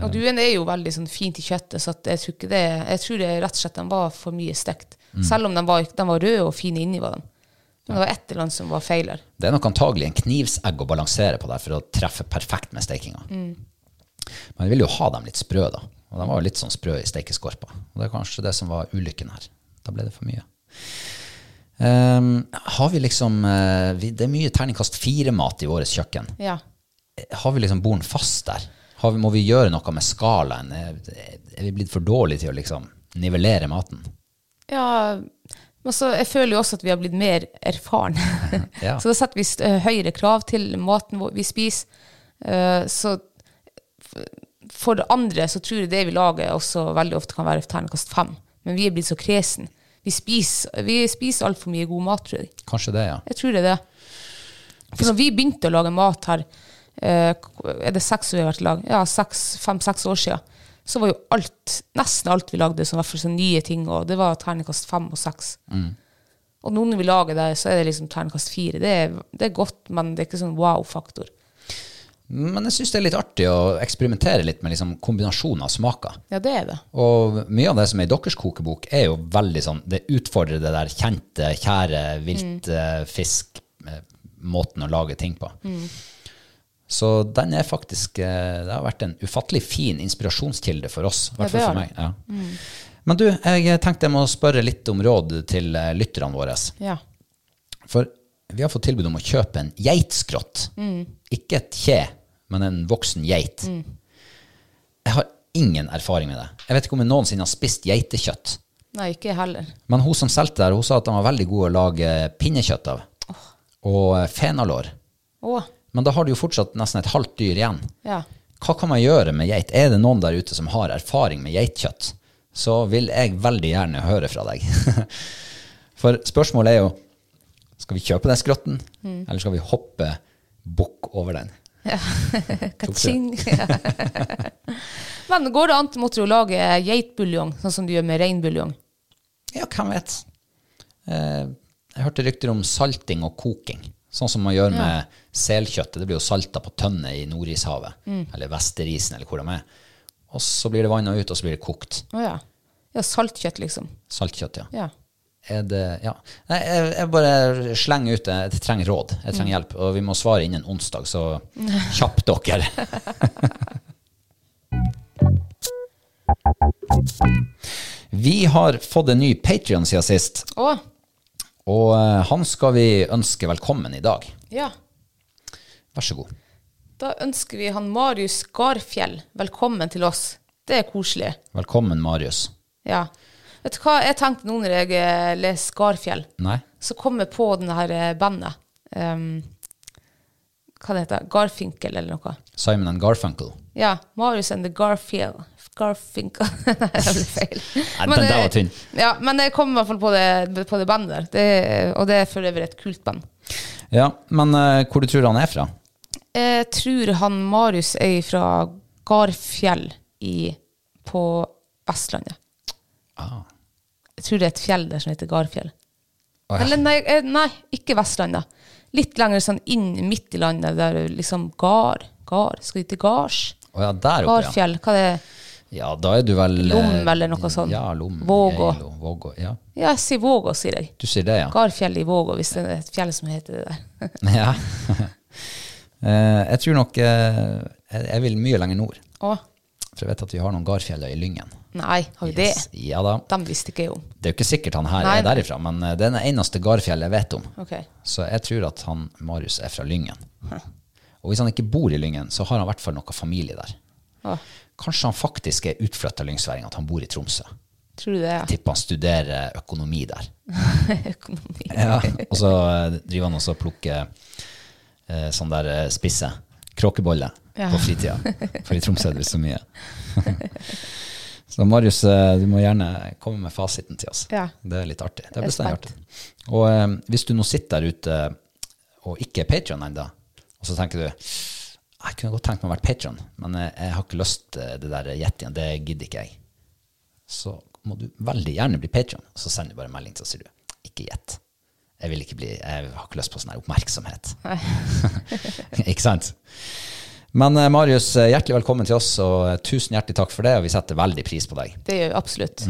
Speaker 2: Og duen er jo veldig sånn fint i kjøttet, så at jeg tror ikke det Jeg tror det rett og slett den var for mye stekt. Selv om den var, den var rød og fin inni, var den. Men det var et eller annet som var feil her.
Speaker 1: Det er nok antagelig en knivsegg å balansere på der for å treffe perfekt med stekinga. Men vi ville jo ha dem litt sprø, da. Og de var jo litt sånn sprø i steikeskorpa. Og det er kanskje det som var ulykken her. Da ble det for mye. Ehm, har vi liksom eh, vi, Det er mye terningkast fire-mat i årets kjøkken.
Speaker 2: Ja.
Speaker 1: Har vi liksom bordet fast der? Har vi, må vi gjøre noe med skalaen? Er, er vi blitt for dårlige til å liksom nivellere maten?
Speaker 2: ja men så, jeg føler jo også at vi har blitt mer erfarne.
Speaker 1: Ja.
Speaker 2: Så da setter vi st- høyere krav til maten vår vi spiser. Eh, så f- for det andre så tror jeg det vi lager også veldig ofte kan være terningkast fem. Men vi er blitt så kresen. Vi spiser, vi spiser altfor mye god mat, tror jeg.
Speaker 1: Kanskje det, ja.
Speaker 2: Jeg tror det er det. For når vi begynte å lage mat her, eh, er det seks år vi har vært i lag? Ja, fem-seks år siden. Så var jo alt, nesten alt vi lagde, som i hvert fall sånne nye ting, og det var terningkast fem og seks. Og nå når vi lager det, så er det liksom terningkast fire. Det er, det er godt, men det er ikke sånn wow-faktor.
Speaker 1: Men jeg syns det er litt artig å eksperimentere litt med liksom kombinasjoner av smaker.
Speaker 2: Ja, det er det.
Speaker 1: Og mye av det som er i deres kokebok, er jo veldig sånn Det utfordrer det der kjente, kjære
Speaker 2: Mm.
Speaker 1: eh, viltfisk-måten å lage ting på.
Speaker 2: Mm.
Speaker 1: Så den er faktisk eh, Det har vært en ufattelig fin inspirasjonskilde for oss. I
Speaker 2: Ja,
Speaker 1: hvert fall
Speaker 2: det Mm.
Speaker 1: for
Speaker 2: har
Speaker 1: meg. Ja. Men du, jeg tenkte jeg må spørre litt om råd til eh, lytterne våre.
Speaker 2: Ja.
Speaker 1: For vi har fått tilbud om å kjøpe en geitskrott. Ikke et kje, men en voksen geit. Jeg har ingen erfaring med det. Jeg vet ikke om jeg noensinne har spist geitekjøtt.
Speaker 2: Nei, ikke jeg heller.
Speaker 1: Men hun som solgte der, hun sa at de var veldig gode å lage pinnekjøtt av. Og eh, fenalår.
Speaker 2: Å,
Speaker 1: Men da har du jo fortsatt nesten et halvt dyr igjen.
Speaker 2: ja.
Speaker 1: Hva kan man gjøre med geit? Er det noen der ute som har erfaring med geitkjøtt, så vil jeg veldig gjerne høre fra deg. For spørsmålet er jo skal vi kjøpe den skrotten, eller skal vi hoppe bukk over den?
Speaker 2: Ka-ching. Men går det an til måtte du lage geitbuljong, sånn som du gjør med reinbuljong?
Speaker 1: Ja, hvem vet? Eh, jeg hørte rykter om salting og koking. Sånn som man gjør med selkjøttet. Det blir jo salta på tønne i Nordishavet. Eller Vesterisen, eller hvor de er. Og så blir det vanna ut, og så blir det kokt.
Speaker 2: Å ja. Ja, saltkjøtt, liksom.
Speaker 1: Saltkjøtt, ja.
Speaker 2: Ja.
Speaker 1: Er det, ja. Nei, jeg, jeg bare slenger ut det. Jeg trenger råd. Jeg
Speaker 2: Mm.
Speaker 1: trenger hjelp. Og vi må svare innen onsdag, så kjapp dere. Vi har fått en ny Patrion siden sist.
Speaker 2: Å,
Speaker 1: Og eh, han skal vi ønske velkommen i dag.
Speaker 2: ja.
Speaker 1: Vær så god.
Speaker 2: Da ønsker vi han Marius Skarfjell velkommen til oss. Det er koselig.
Speaker 1: Velkommen, Marius.
Speaker 2: Ja. Vet du hva jeg tenkte nå når jeg eh, leser Skarfjell?
Speaker 1: Nei?
Speaker 2: Så kom jeg på det her eh, bandet. Um, hva det heter det? Garfinkel eller noe.
Speaker 1: Simon and Garfunkel.
Speaker 2: Ja. Marius and the Garfield. Garfinkel Nei, det ble feil.
Speaker 1: Nei, den der
Speaker 2: eh,
Speaker 1: var tynn.
Speaker 2: Ja, men jeg kom i hvert fall på det, på det bandet der. Det, og det føler jeg var et kult band.
Speaker 1: Ja, men eh, hvor du tror han er fra?
Speaker 2: Jeg tror han Marius er fra Garfjell i, på Vestlandet.
Speaker 1: Ah.
Speaker 2: Jeg tror det er et fjell der som heter Garfjell.
Speaker 1: Å, ja.
Speaker 2: Eller nei, eh, nei, ikke Vestlandet. Litt lenger sånn inn midt i landet, der det liksom Gar, Gar, skal de til Gards?
Speaker 1: Å ja, der oppe, ja.
Speaker 2: Garfjell, hva det er?
Speaker 1: Ja, da er du vel eh,
Speaker 2: Lom eller noe sånt.
Speaker 1: Ja, Lom.
Speaker 2: Vågå.
Speaker 1: Geilo, Vågå. Ja,
Speaker 2: Ja, jeg sier Vågå, sier jeg.
Speaker 1: du sier det, ja.
Speaker 2: Garfjell i Vågå, hvis det er et fjell som heter det der.
Speaker 1: ja. Eh, jeg tror nok eh, jeg, jeg vil mye lenger nord.
Speaker 2: Å,
Speaker 1: For jeg vet at vi har noen Garfjeller i Lyngen.
Speaker 2: nei, har vi
Speaker 1: Yes.
Speaker 2: det?
Speaker 1: Ja da.
Speaker 2: De visste ikke jeg om.
Speaker 1: Det er jo ikke sikkert han her
Speaker 2: Nei,
Speaker 1: er
Speaker 2: nei.
Speaker 1: derifra, men eh, det er den eneste Garfjellet jeg vet om.
Speaker 2: Ok.
Speaker 1: Så jeg tror at han, Marius er fra Lyngen. Og hvis han ikke bor i Lyngen, så har han i hvert fall noe familie der.
Speaker 2: Å,
Speaker 1: Kanskje han faktisk er utflytta lyngsværing, at han bor i Tromsø.
Speaker 2: tror du det, ja?
Speaker 1: Tipper han studerer økonomi der.
Speaker 2: Økonomi.
Speaker 1: Og så eh, driver han også og plukker eh, sånn der eh, spisse kråkebolle
Speaker 2: Ja.
Speaker 1: på fritida. For i Tromsø er det så mye. så Marius, eh, du må gjerne komme med fasiten til oss.
Speaker 2: Ja.
Speaker 1: Det er litt artig. Det
Speaker 2: Jeg
Speaker 1: er
Speaker 2: er
Speaker 1: bestandig
Speaker 2: spent.
Speaker 1: artig. Og eh, hvis du nå sitter der ute eh, og ikke er Patreon ennå, og så tenker du jeg kunne godt tenkt meg å være Patreon, men eh, jeg har ikke lyst til det der yetien. Det gidder ikke jeg. Så må du veldig gjerne bli Patreon, og så sender du bare en melding til oss, sier du. Ikke gjett. Jeg vil ikke bli, jeg har ikke lyst på sånn her oppmerksomhet. ikke sant? Men eh, Marius, eh, hjertelig velkommen til oss, og eh, tusen hjertelig takk for det, og vi setter veldig pris på deg.
Speaker 2: Det gjør vi absolutt.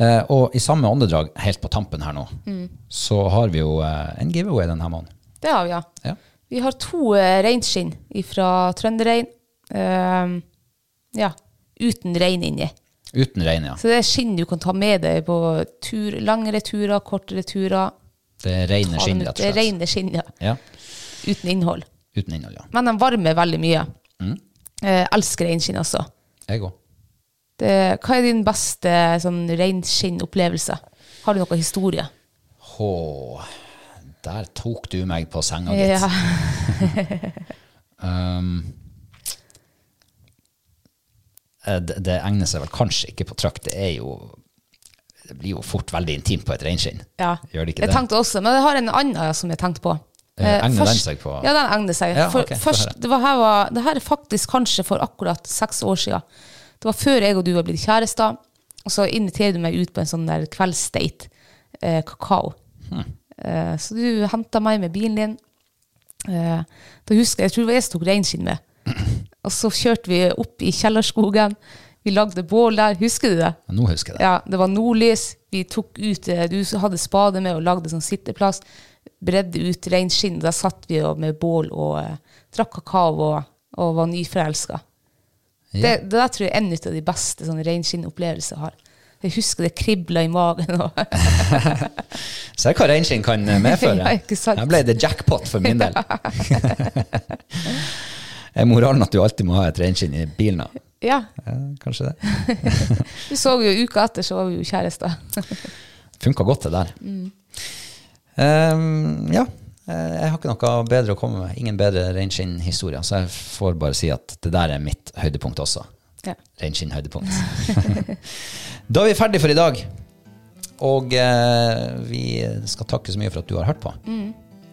Speaker 1: Eh, og i samme åndedrag, helt på tampen her nå,
Speaker 2: Mm.
Speaker 1: så har vi jo eh, en giveaway denne måneden.
Speaker 2: Det har vi, ja.
Speaker 1: Ja.
Speaker 2: Vi har to eh, reinskinn fra Trønderrein. Ehm, ja, uten rein inni.
Speaker 1: Uten rein, ja.
Speaker 2: Så det er skinn du kan ta med deg på tur, langere turer, kortere turer.
Speaker 1: Det er reine skinn, rett
Speaker 2: Det
Speaker 1: og
Speaker 2: er
Speaker 1: slett.
Speaker 2: rene skinn, ja.
Speaker 1: Ja,
Speaker 2: Uten innhold.
Speaker 1: uten innhold, ja.
Speaker 2: Men de varmer veldig mye.
Speaker 1: Mm.
Speaker 2: Eh, elsker reinskinn også.
Speaker 1: Jeg òg.
Speaker 2: Det, hva er din beste sånn, reinskinnopplevelse? Har du noen historie?
Speaker 1: Hå, der tok du meg på senga, gitt.
Speaker 2: Ja.
Speaker 1: Um, eh, det, det egner seg vel kanskje ikke på trykk. Det er jo Det blir jo fort veldig intimt på et reinskinn.
Speaker 2: ja.
Speaker 1: Gjør det ikke
Speaker 2: jeg
Speaker 1: det?
Speaker 2: tenkte også, men jeg har en annen som jeg tenkte på.
Speaker 1: Eh, egner den
Speaker 2: først-
Speaker 1: seg på-
Speaker 2: Ja, den egner seg.
Speaker 1: Ja,
Speaker 2: for,
Speaker 1: ok, få høre.
Speaker 2: først, det, var her var, det her er faktisk kanskje for akkurat seks år siden. Det var før jeg og du var blitt kjærester. Og så inviterer du meg ut på en sånn der kveldsdate. Eh, kakao.
Speaker 1: Hm.
Speaker 2: Eh, så du henta meg med bilen din. Eh, da husker jeg, jeg tror det var jeg som tok reinskinn med. Og så kjørte vi opp i kjellerskogen. Vi lagde bål der. Husker du det?
Speaker 1: Men Nå husker jeg det.
Speaker 2: Ja, det var nordlys. Vi tok ut eh, Du hadde spade med og lagde sånn sitteplass. Bredde ut reinskinn. Der satt vi og med bål og eh, drakk kakao og, og var nyforelska.
Speaker 1: Ja.
Speaker 2: Det, det der tror jeg er en ut av de beste sånn reinskinn-opplevelser jeg har. Jeg husker det kribla i magen. Og,
Speaker 1: Se hva reinskinn kan eh, medføre.
Speaker 2: Ja, ikke sant?
Speaker 1: Her ble det jackpot for min del. er moralen at du alltid må ha et reinskinn i bilen? da?
Speaker 2: Ja.
Speaker 1: Ja, kanskje det.
Speaker 2: Vi så jo uka etter, så var vi jo kjærester.
Speaker 1: Funka godt, det der.
Speaker 2: Mm.
Speaker 1: Eh, ja. Eh, Jeg har ikke noe bedre å komme med. Ingen bedre reinskinnhistorier. Så jeg får bare si at det der er mitt høydepunkt også.
Speaker 2: Ja.
Speaker 1: Reinskinn-høydepunkt. da er vi ferdig for i dag. Og eh, vi skal takke så mye for at du har hørt på.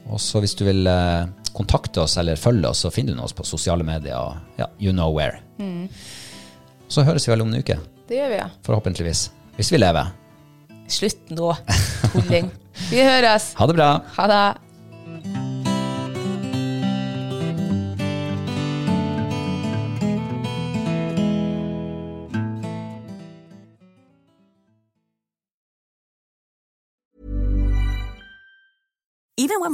Speaker 1: Og så hvis du vil eh, kontakte oss eller følge oss, så finner du oss på sosiale medier. og Ja, you know where. Så høres vi vel om en uke,
Speaker 2: Det gjør vi, ja.
Speaker 1: forhåpentligvis. Hvis vi lever.
Speaker 2: Slutt nå, tulling. Vi høres.
Speaker 1: Ha det bra.
Speaker 2: Ha det.
Speaker 3: Even when